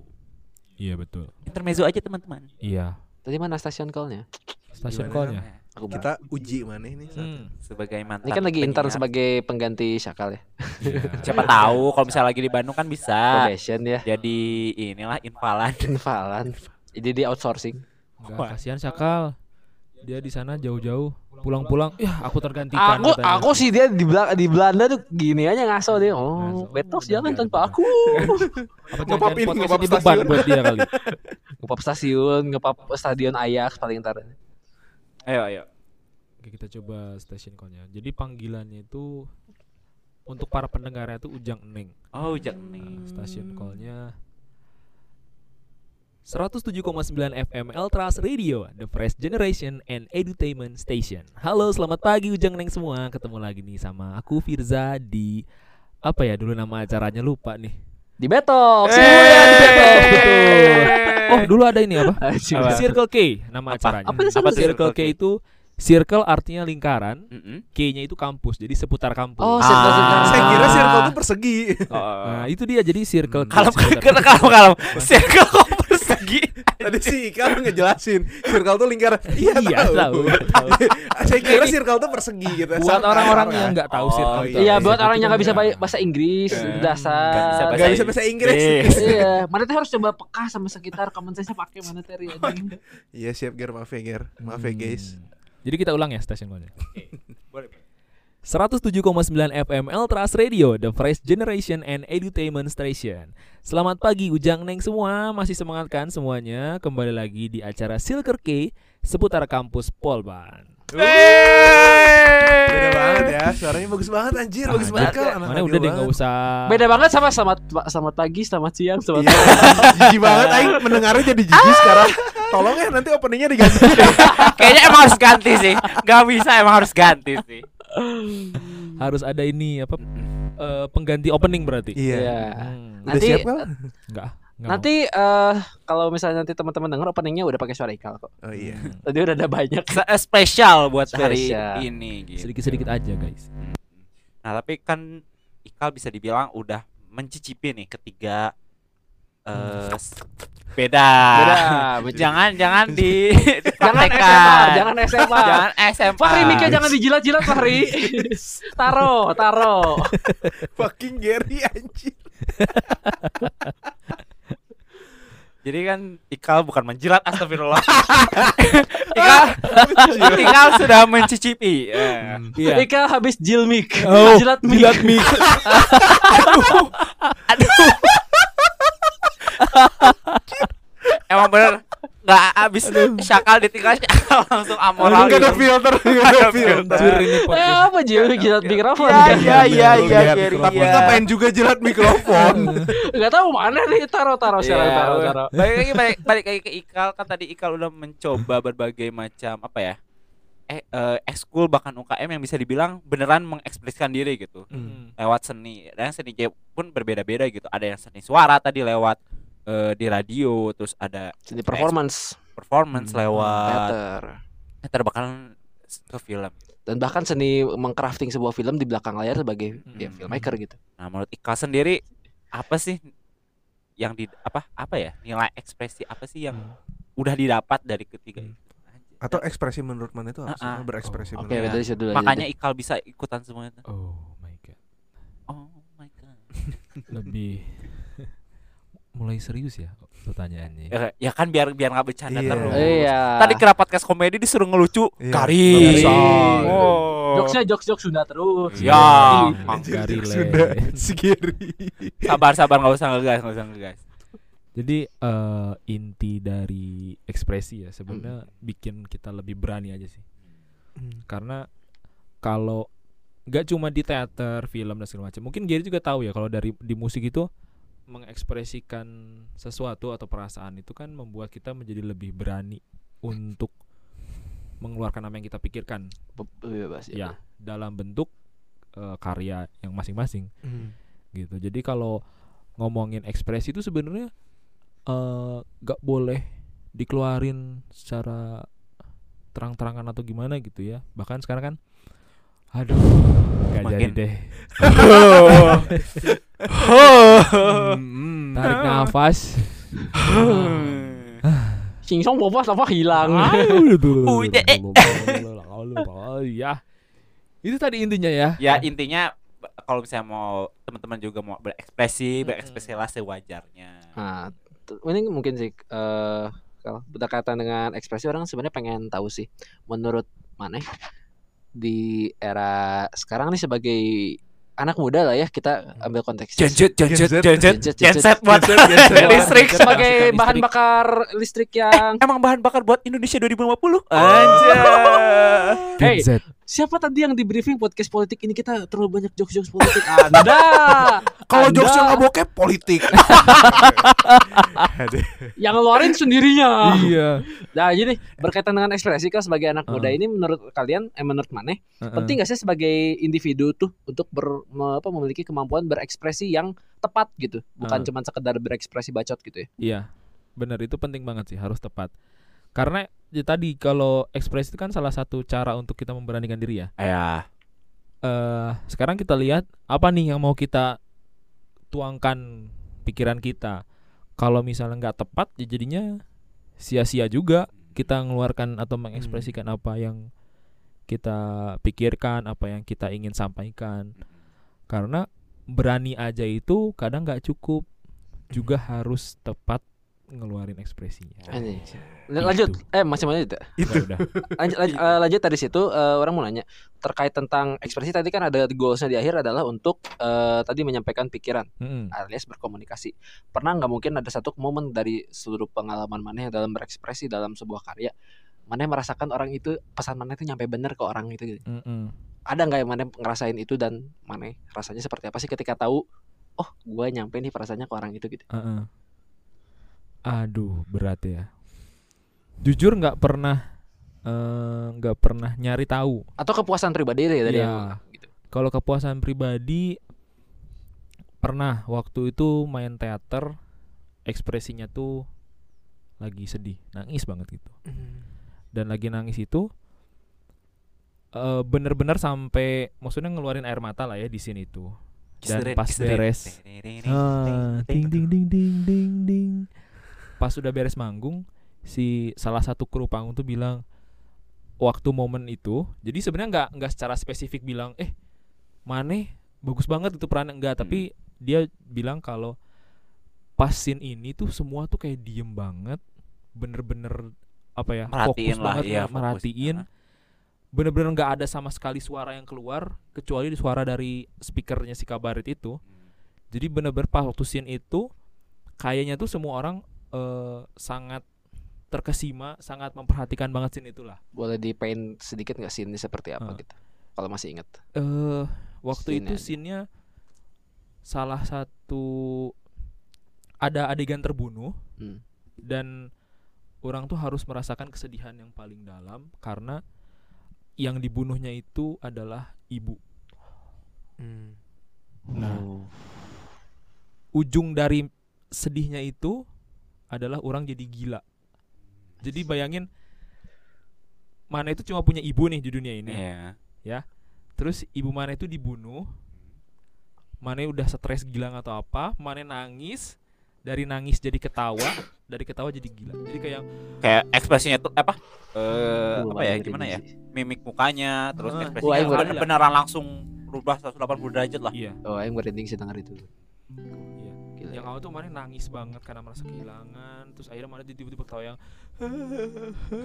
[SPEAKER 7] Iya betul.
[SPEAKER 1] Intermezzo aja teman-teman.
[SPEAKER 7] Iya.
[SPEAKER 6] Tadi mana stasiun call-nya?
[SPEAKER 7] Stasiun ya?
[SPEAKER 4] Gimana,
[SPEAKER 7] call-nya.
[SPEAKER 6] Aku
[SPEAKER 4] Kita uji mana ini? Sat?
[SPEAKER 7] Hmm.
[SPEAKER 1] Sebagai mantan.
[SPEAKER 6] Ini kan lagi intern
[SPEAKER 1] penyiar.
[SPEAKER 6] sebagai pengganti Syakal ya.
[SPEAKER 7] Iya.
[SPEAKER 1] Siapa
[SPEAKER 6] [LAUGHS]
[SPEAKER 1] tahu kalau misalnya lagi di Bandung kan bisa.
[SPEAKER 6] Probation ya.
[SPEAKER 1] Jadi inilah
[SPEAKER 6] [LAUGHS]
[SPEAKER 1] infalan.
[SPEAKER 6] Invalan. Jadi di outsourcing.
[SPEAKER 7] Enggak, kasihan Sakal. Dia di sana jauh-jauh pulang-pulang, ya aku tergantikan.
[SPEAKER 6] Aku
[SPEAKER 7] katanya.
[SPEAKER 6] aku sih dia di Belanda, di Belanda tuh gini aja ngaso dia. Oh,
[SPEAKER 7] Ngaso.
[SPEAKER 6] betos
[SPEAKER 7] Oh,
[SPEAKER 6] jangan
[SPEAKER 7] enggak,
[SPEAKER 6] tanpa
[SPEAKER 7] enggak.
[SPEAKER 6] aku. [LAUGHS]
[SPEAKER 7] apa
[SPEAKER 4] Ngepop
[SPEAKER 7] jangan-jangan
[SPEAKER 4] ini,
[SPEAKER 7] podcast
[SPEAKER 4] ngepop
[SPEAKER 7] ini beban
[SPEAKER 4] stasiun.
[SPEAKER 7] buat dia kali.
[SPEAKER 6] Ngepop stasiun, ngepop stadion Ajax paling ntar.
[SPEAKER 1] Ayo ayo.
[SPEAKER 7] Oke, kita coba station call-nya. Jadi panggilannya itu untuk para pendengarnya itu Ujang Neng.
[SPEAKER 1] Oh, jak
[SPEAKER 7] Nah,
[SPEAKER 1] nih.
[SPEAKER 6] Hmm.
[SPEAKER 7] stasiun call-nya 107,9 FM Eltras Radio, The Fresh Generation and Edutainment Station. Halo, selamat pagi Ujang Neng semua. Ketemu lagi nih sama aku Firza di apa ya dulu nama acaranya lupa nih.
[SPEAKER 6] Di betok.
[SPEAKER 7] Oh, ya, di Depok, betul. Oh, dulu ada ini apa? Circle K nama acaranya.
[SPEAKER 6] Apa sih
[SPEAKER 1] tuh
[SPEAKER 7] Circle K itu circle artinya lingkaran,
[SPEAKER 1] Mm-mm.
[SPEAKER 7] K-nya itu kampus. Jadi seputar kampus.
[SPEAKER 6] Oh, circle
[SPEAKER 1] Ah.
[SPEAKER 4] Saya
[SPEAKER 6] circle.
[SPEAKER 4] kira circle itu persegi.
[SPEAKER 1] Oh.
[SPEAKER 7] Nah, itu dia jadi circle K.
[SPEAKER 1] [LAUGHS] Kalau
[SPEAKER 7] seputar-
[SPEAKER 1] kalau kalau kalau circle kok persegi.
[SPEAKER 4] Tadi sih Ikal [LAUGHS] ngejelasin circle tuh lingkaran. Iya,
[SPEAKER 7] Iya, tahu.
[SPEAKER 4] tahu. [LAUGHS] Saya kira circle tuh persegi gitu.
[SPEAKER 7] buat
[SPEAKER 4] Sama
[SPEAKER 7] orang-orang
[SPEAKER 4] kayak
[SPEAKER 7] yang nggak tahu
[SPEAKER 1] Oh,
[SPEAKER 7] circle
[SPEAKER 4] iya.
[SPEAKER 7] itu
[SPEAKER 6] Iya,
[SPEAKER 7] apa.
[SPEAKER 6] buat orang
[SPEAKER 7] Itu
[SPEAKER 6] yang nggak bisa
[SPEAKER 7] nggak.
[SPEAKER 6] bay- bahasa Inggris
[SPEAKER 1] Eh, nggak bisa bahasa
[SPEAKER 6] dasar.
[SPEAKER 4] nggak bisa bahasa Inggris.
[SPEAKER 6] Iya, mana teh harus coba peka sama sekitar common sense pakai mana teh anjing.
[SPEAKER 7] Hmm.
[SPEAKER 4] Iya, siap ger maaf ya ger. Maaf ya guys.
[SPEAKER 7] Jadi kita ulang ya station code-nya.
[SPEAKER 1] Boleh.
[SPEAKER 7] 107,9 FM Eltras Radio, The Fresh Generation and Edutainment Station. Selamat pagi Ujang Neng semua, masih semangat kan semuanya? Kembali lagi di acara Silker K seputar kampus Polban.
[SPEAKER 4] Beda banget ya, suaranya bagus banget anjir, bagus
[SPEAKER 7] Anjir.
[SPEAKER 4] banget kal. Anak
[SPEAKER 7] Nah, Mana
[SPEAKER 4] radio
[SPEAKER 7] udah deh nggak
[SPEAKER 4] banget.
[SPEAKER 7] usah.
[SPEAKER 6] Beda banget sama selamat selamat pagi, selamat siang, selamat
[SPEAKER 4] Iya, [LAUGHS] jijik banget aing mendengarnya jadi jijik sekarang. Tolong ya nanti openingnya
[SPEAKER 7] [LAUGHS]
[SPEAKER 4] diganti.
[SPEAKER 1] [LAUGHS] Kayaknya emang harus ganti sih. Gak bisa emang harus ganti sih.
[SPEAKER 7] Harus ada ini apa eh, pengganti opening berarti.
[SPEAKER 4] Iya.
[SPEAKER 6] Iya.
[SPEAKER 7] Hmm,
[SPEAKER 4] Udah
[SPEAKER 6] Nanti-
[SPEAKER 4] siap kal?
[SPEAKER 7] nggak, nggak
[SPEAKER 6] Nanti eh, kalau misalnya nanti teman-teman denger openingnya udah pakai suara Ikal kok.
[SPEAKER 4] Oh
[SPEAKER 7] [LAUGHS]
[SPEAKER 4] iya.
[SPEAKER 6] Tadi udah ada banyak.
[SPEAKER 1] Se- eh, Spesial buat hari
[SPEAKER 6] Spesial.
[SPEAKER 1] ini.
[SPEAKER 7] mau.
[SPEAKER 1] Gitu.
[SPEAKER 7] sedikit-sedikit aja guys.
[SPEAKER 1] Nah tapi kan Ikal bisa dibilang udah mencicipi nih ketiga eh s- beda. [LAUGHS]
[SPEAKER 6] Beda, betul.
[SPEAKER 1] jangan jangan di
[SPEAKER 6] Jangan
[SPEAKER 1] dipraktekkan.
[SPEAKER 6] SMA, jangan SMA.
[SPEAKER 1] jangan SMA.
[SPEAKER 6] Fahri mikir jangan dijilat-jilat
[SPEAKER 1] [LAUGHS]
[SPEAKER 6] Fahri. taro, taro.
[SPEAKER 4] Fucking Gary anjir.
[SPEAKER 1] Jadi kan Ikal bukan menjilat astagfirullah. Ikal Ikal sudah mencicipi. eh.
[SPEAKER 6] Hmm.
[SPEAKER 7] Iya.
[SPEAKER 6] Ika habis jilmik.
[SPEAKER 7] Oh,
[SPEAKER 6] jilat mik.
[SPEAKER 7] jilat mik.
[SPEAKER 1] Eh, Emang bener nggak habis syakal ditinggal syakal langsung amoral.
[SPEAKER 4] Enggak ada
[SPEAKER 1] gitu.
[SPEAKER 4] filter, enggak ada filter.
[SPEAKER 7] Anjir, ini
[SPEAKER 6] Eh,
[SPEAKER 4] Iya.
[SPEAKER 7] podcast.
[SPEAKER 6] apa jilat jilat mikrofon?
[SPEAKER 1] Iya iya iya
[SPEAKER 4] Lihat
[SPEAKER 1] Gary,
[SPEAKER 4] Tapi
[SPEAKER 1] iya.
[SPEAKER 4] ngapain juga jilat mikrofon?
[SPEAKER 6] Enggak tahu mana nih taro taro sekarang
[SPEAKER 1] Iya,
[SPEAKER 6] taro
[SPEAKER 1] udah.
[SPEAKER 6] taro.
[SPEAKER 1] Balik lagi balik, balik lagi ke Ikal kan tadi Ikal udah mencoba berbagai macam apa ya? Eh, eh, ekskul bahkan UKM yang bisa dibilang beneran mengekspresikan diri gitu
[SPEAKER 7] Hmm.
[SPEAKER 1] lewat seni dan seni dia pun berbeda-beda gitu ada yang seni suara tadi lewat eh, di radio terus ada
[SPEAKER 6] Jadi performance
[SPEAKER 1] performance
[SPEAKER 7] Hmm,
[SPEAKER 1] lewat
[SPEAKER 6] theater
[SPEAKER 1] teater bahkan s- ke film
[SPEAKER 6] dan bahkan seni mengcrafting sebuah film di belakang layar sebagai ya
[SPEAKER 7] Hmm.
[SPEAKER 6] filmmaker gitu.
[SPEAKER 1] nah menurut Ikal sendiri apa sih yang di apa apa ya nilai ekspresi apa sih
[SPEAKER 7] Hmm.
[SPEAKER 1] yang udah didapat dari ketiga itu
[SPEAKER 4] Atau ekspresi menurut mana itu apa sih?
[SPEAKER 1] Ah, ah.
[SPEAKER 4] Berekspresi
[SPEAKER 6] Oke,
[SPEAKER 4] menurut.
[SPEAKER 6] dari situ dulu aja
[SPEAKER 1] makanya
[SPEAKER 6] deh.
[SPEAKER 1] Ikal bisa ikutan semua itu.
[SPEAKER 7] Oh my god.
[SPEAKER 1] Oh my god.
[SPEAKER 7] Lebih [LAUGHS] mulai serius ya pertanyaannya.
[SPEAKER 1] Ya, ya kan biar biar nggak bercanda
[SPEAKER 4] Iya.
[SPEAKER 1] terus.
[SPEAKER 6] Iya.
[SPEAKER 1] Tadi ke podcast komedi disuruh ngelucu.
[SPEAKER 4] Iya,
[SPEAKER 1] Garing.
[SPEAKER 4] nggak bisa.
[SPEAKER 1] Oh.
[SPEAKER 6] jokesnya jokes jokes Sunda terus.
[SPEAKER 7] Iya.
[SPEAKER 1] Ya,
[SPEAKER 7] Mang
[SPEAKER 4] Anjir,
[SPEAKER 7] Garile.
[SPEAKER 4] sudah si Gary.
[SPEAKER 1] Sabar sabar nggak usah ngegas nggak usah ngegas.
[SPEAKER 7] Jadi eh, inti dari ekspresi ya sebenarnya bikin kita lebih berani aja sih. Karena kalau nggak cuma di teater, film dan segala macam. Mungkin Gary juga tahu ya kalau dari di musik itu mengekspresikan sesuatu atau perasaan itu kan membuat kita menjadi lebih berani untuk mengeluarkan apa yang kita pikirkan
[SPEAKER 6] Be- Bebas
[SPEAKER 4] Iya.
[SPEAKER 7] ya dalam bentuk eh, karya yang masing-masing gitu. Jadi kalau ngomongin ekspresi itu sebenarnya eh, nggak boleh dikeluarin secara terang-terangan atau gimana gitu ya. Bahkan sekarang kan aduh nggak jadi
[SPEAKER 1] Makin-
[SPEAKER 7] deh.
[SPEAKER 4] Hmm.
[SPEAKER 7] Tarik nafas.
[SPEAKER 6] Singsong bobas apa hilang.
[SPEAKER 1] eh.
[SPEAKER 7] ya. Itu tadi intinya ya.
[SPEAKER 1] Ya intinya b- kalau misalnya mau teman-teman juga mau berekspresi,
[SPEAKER 7] Mm-mm.
[SPEAKER 1] berekspresilah sewajarnya.
[SPEAKER 6] Nah, t- ini mungkin sih eh kalau berkaitan dengan ekspresi orang sebenarnya pengen tahu sih menurut Maneh di era sekarang nih sebagai anak muda lah ya kita ambil konteksnya
[SPEAKER 4] Gen Z.
[SPEAKER 1] genset,
[SPEAKER 6] Genset,
[SPEAKER 1] genset buat
[SPEAKER 4] Gen
[SPEAKER 1] [LAUGHS]
[SPEAKER 4] Z, Gen Z.
[SPEAKER 6] Buat-
[SPEAKER 1] listrik.
[SPEAKER 6] sebagai
[SPEAKER 7] Listrik.
[SPEAKER 6] bahan bakar listrik yang
[SPEAKER 1] Emang bahan bakar buat Indonesia 2050? Anjir.
[SPEAKER 6] [LAUGHS] hey
[SPEAKER 7] Z.
[SPEAKER 6] siapa tadi yang di briefing podcast politik ini kita terlalu banyak jokes-jokes politik
[SPEAKER 7] [LAUGHS]
[SPEAKER 6] anda
[SPEAKER 4] Kalau
[SPEAKER 6] Anda
[SPEAKER 4] jokes yang nggak bokep politik. Aduh.
[SPEAKER 6] yang ngeluarin sendirinya
[SPEAKER 7] Iya.
[SPEAKER 6] Nah, jadi berkaitan dengan ekspresi kan sebagai anak muda
[SPEAKER 7] Heeh.
[SPEAKER 6] ini menurut kalian eh menurut Maneh, penting gak sih sebagai individu tuh untuk ber, me- apa, memiliki kemampuan berekspresi yang tepat gitu, bukan
[SPEAKER 7] Heeh.
[SPEAKER 6] cuma sekedar berekspresi bacot gitu ya.
[SPEAKER 7] Iya, benar itu penting banget sih, harus tepat. Karena ya tadi kalau ekspresi itu kan salah satu cara untuk kita memberanikan diri ya.
[SPEAKER 1] Ya.
[SPEAKER 7] Eh sekarang kita lihat apa nih yang mau kita tuangkan pikiran kita. Kalau misalnya nggak tepat, ya jadinya sia-sia juga kita mengeluarkan atau mengekspresikan apa yang kita pikirkan, apa yang kita ingin sampaikan. Karena berani aja itu kadang nggak cukup, juga harus tepat ngeluarin ekspresinya.
[SPEAKER 6] Anjing.
[SPEAKER 7] Gitu.
[SPEAKER 6] Lanjut. Eh masih lanjut ya?
[SPEAKER 7] Itu udah.
[SPEAKER 6] lanjut, lanjut, eh, lanjut dari situ eh, orang mau nanya terkait tentang ekspresi tadi kan ada goalsnya di akhir adalah untuk eh, tadi menyampaikan pikiran
[SPEAKER 7] Mm-mm.
[SPEAKER 6] alias berkomunikasi pernah nggak mungkin ada satu momen dari seluruh pengalaman mana yang dalam berekspresi dalam sebuah karya mana yang merasakan orang itu pesan mana itu nyampe bener ke orang itu gitu.
[SPEAKER 7] Mm-mm.
[SPEAKER 6] ada nggak yang mana ngerasain itu dan mana rasanya seperti apa sih ketika tahu oh gua nyampe nih perasaannya ke orang itu gitu
[SPEAKER 7] Heeh. Uh-uh. Aduh, berat ya. Jujur nggak pernah eh, nggak pernah nyari tahu.
[SPEAKER 6] atau kepuasan pribadi deh dari
[SPEAKER 7] Iya.
[SPEAKER 6] yang gitu
[SPEAKER 7] Kalau kepuasan pribadi pernah waktu itu main teater ekspresinya tuh lagi sedih, nangis banget gitu. Dan lagi nangis itu eh, bener-bener sampai maksudnya ngeluarin air mata lah ya di sini tuh. Dan pas beres. Ah, ding ding ding ding ding ding. Pas sudah beres manggung, si salah satu kru panggung tuh bilang waktu momen itu, jadi sebenarnya nggak nggak secara spesifik bilang, eh Mane bagus banget itu perannya
[SPEAKER 1] Hmm.
[SPEAKER 7] enggak, tapi dia bilang kalau pas scene ini tuh semua tuh kayak diem banget, bener-bener apa ya
[SPEAKER 1] Merhatiin
[SPEAKER 7] fokus
[SPEAKER 1] lah,
[SPEAKER 7] banget
[SPEAKER 1] iya,
[SPEAKER 7] nge-
[SPEAKER 1] fokus.
[SPEAKER 7] merhatiin bener-bener nggak ada sama sekali suara yang keluar kecuali suara dari speakernya si kabaret itu jadi bener-bener pas waktu scene itu kayaknya tuh semua orang eh, sangat terkesima sangat memperhatikan banget scene itulah
[SPEAKER 6] boleh di paint sedikit nggak sih ini seperti apa
[SPEAKER 7] Ah.
[SPEAKER 6] gitu kalau masih inget
[SPEAKER 7] eh waktu
[SPEAKER 6] Scene-nya
[SPEAKER 7] itu
[SPEAKER 6] aja.
[SPEAKER 7] scene-nya salah satu ada adegan terbunuh
[SPEAKER 6] Hmm.
[SPEAKER 7] dan orang tuh harus merasakan kesedihan yang paling dalam karena yang dibunuhnya itu adalah ibu
[SPEAKER 4] Hmm.
[SPEAKER 7] Nah, ujung dari sedihnya itu adalah orang jadi gila. Jadi bayangin mana itu cuma punya ibu nih di dunia ini.
[SPEAKER 1] Iya.
[SPEAKER 7] Terus ibu mana itu dibunuh. Mana udah stres gila nggak atau apa, mana nangis, dari nangis jadi ketawa, dari ketawa jadi gila. Jadi kayak
[SPEAKER 1] Kayak ekspresinya tuh apa? Eh,
[SPEAKER 6] Aduh,
[SPEAKER 1] apa ya
[SPEAKER 6] banget
[SPEAKER 1] gimana
[SPEAKER 6] ini
[SPEAKER 1] ya?
[SPEAKER 6] sih.
[SPEAKER 1] Mimik mukanya, terus
[SPEAKER 7] Ah,
[SPEAKER 1] ekspresinya
[SPEAKER 6] live
[SPEAKER 1] bener-
[SPEAKER 7] lah.
[SPEAKER 1] beneran langsung berubah 180 derajat lah.
[SPEAKER 7] iya.
[SPEAKER 6] Oh, yang merinding sih denger itu.
[SPEAKER 7] Iya.
[SPEAKER 6] Gila.
[SPEAKER 7] Yang awal tuh mana nangis banget karena merasa kehilangan, terus akhirnya mana tiba-tiba ketawa yang [LAUGHS]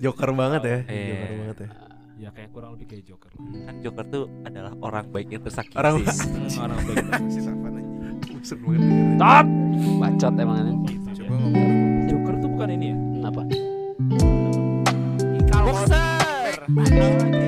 [SPEAKER 4] Joker banget ya.
[SPEAKER 1] Iya.
[SPEAKER 6] Eh.
[SPEAKER 4] Joker banget
[SPEAKER 6] Gitu
[SPEAKER 4] ya.
[SPEAKER 7] Ya kayak kurang lebih kayak Joker. lah.
[SPEAKER 1] Kan Joker tuh adalah orang baik yang tersakiti.
[SPEAKER 4] Orang [LAUGHS]
[SPEAKER 7] Orang baik.
[SPEAKER 4] si Safan anjing. Buset banget dengerin.
[SPEAKER 6] Bacot emang ya. ini.
[SPEAKER 4] Coba ngomong.
[SPEAKER 7] Joker tuh bukan ini ya?
[SPEAKER 6] Kenapa?
[SPEAKER 7] Boxer.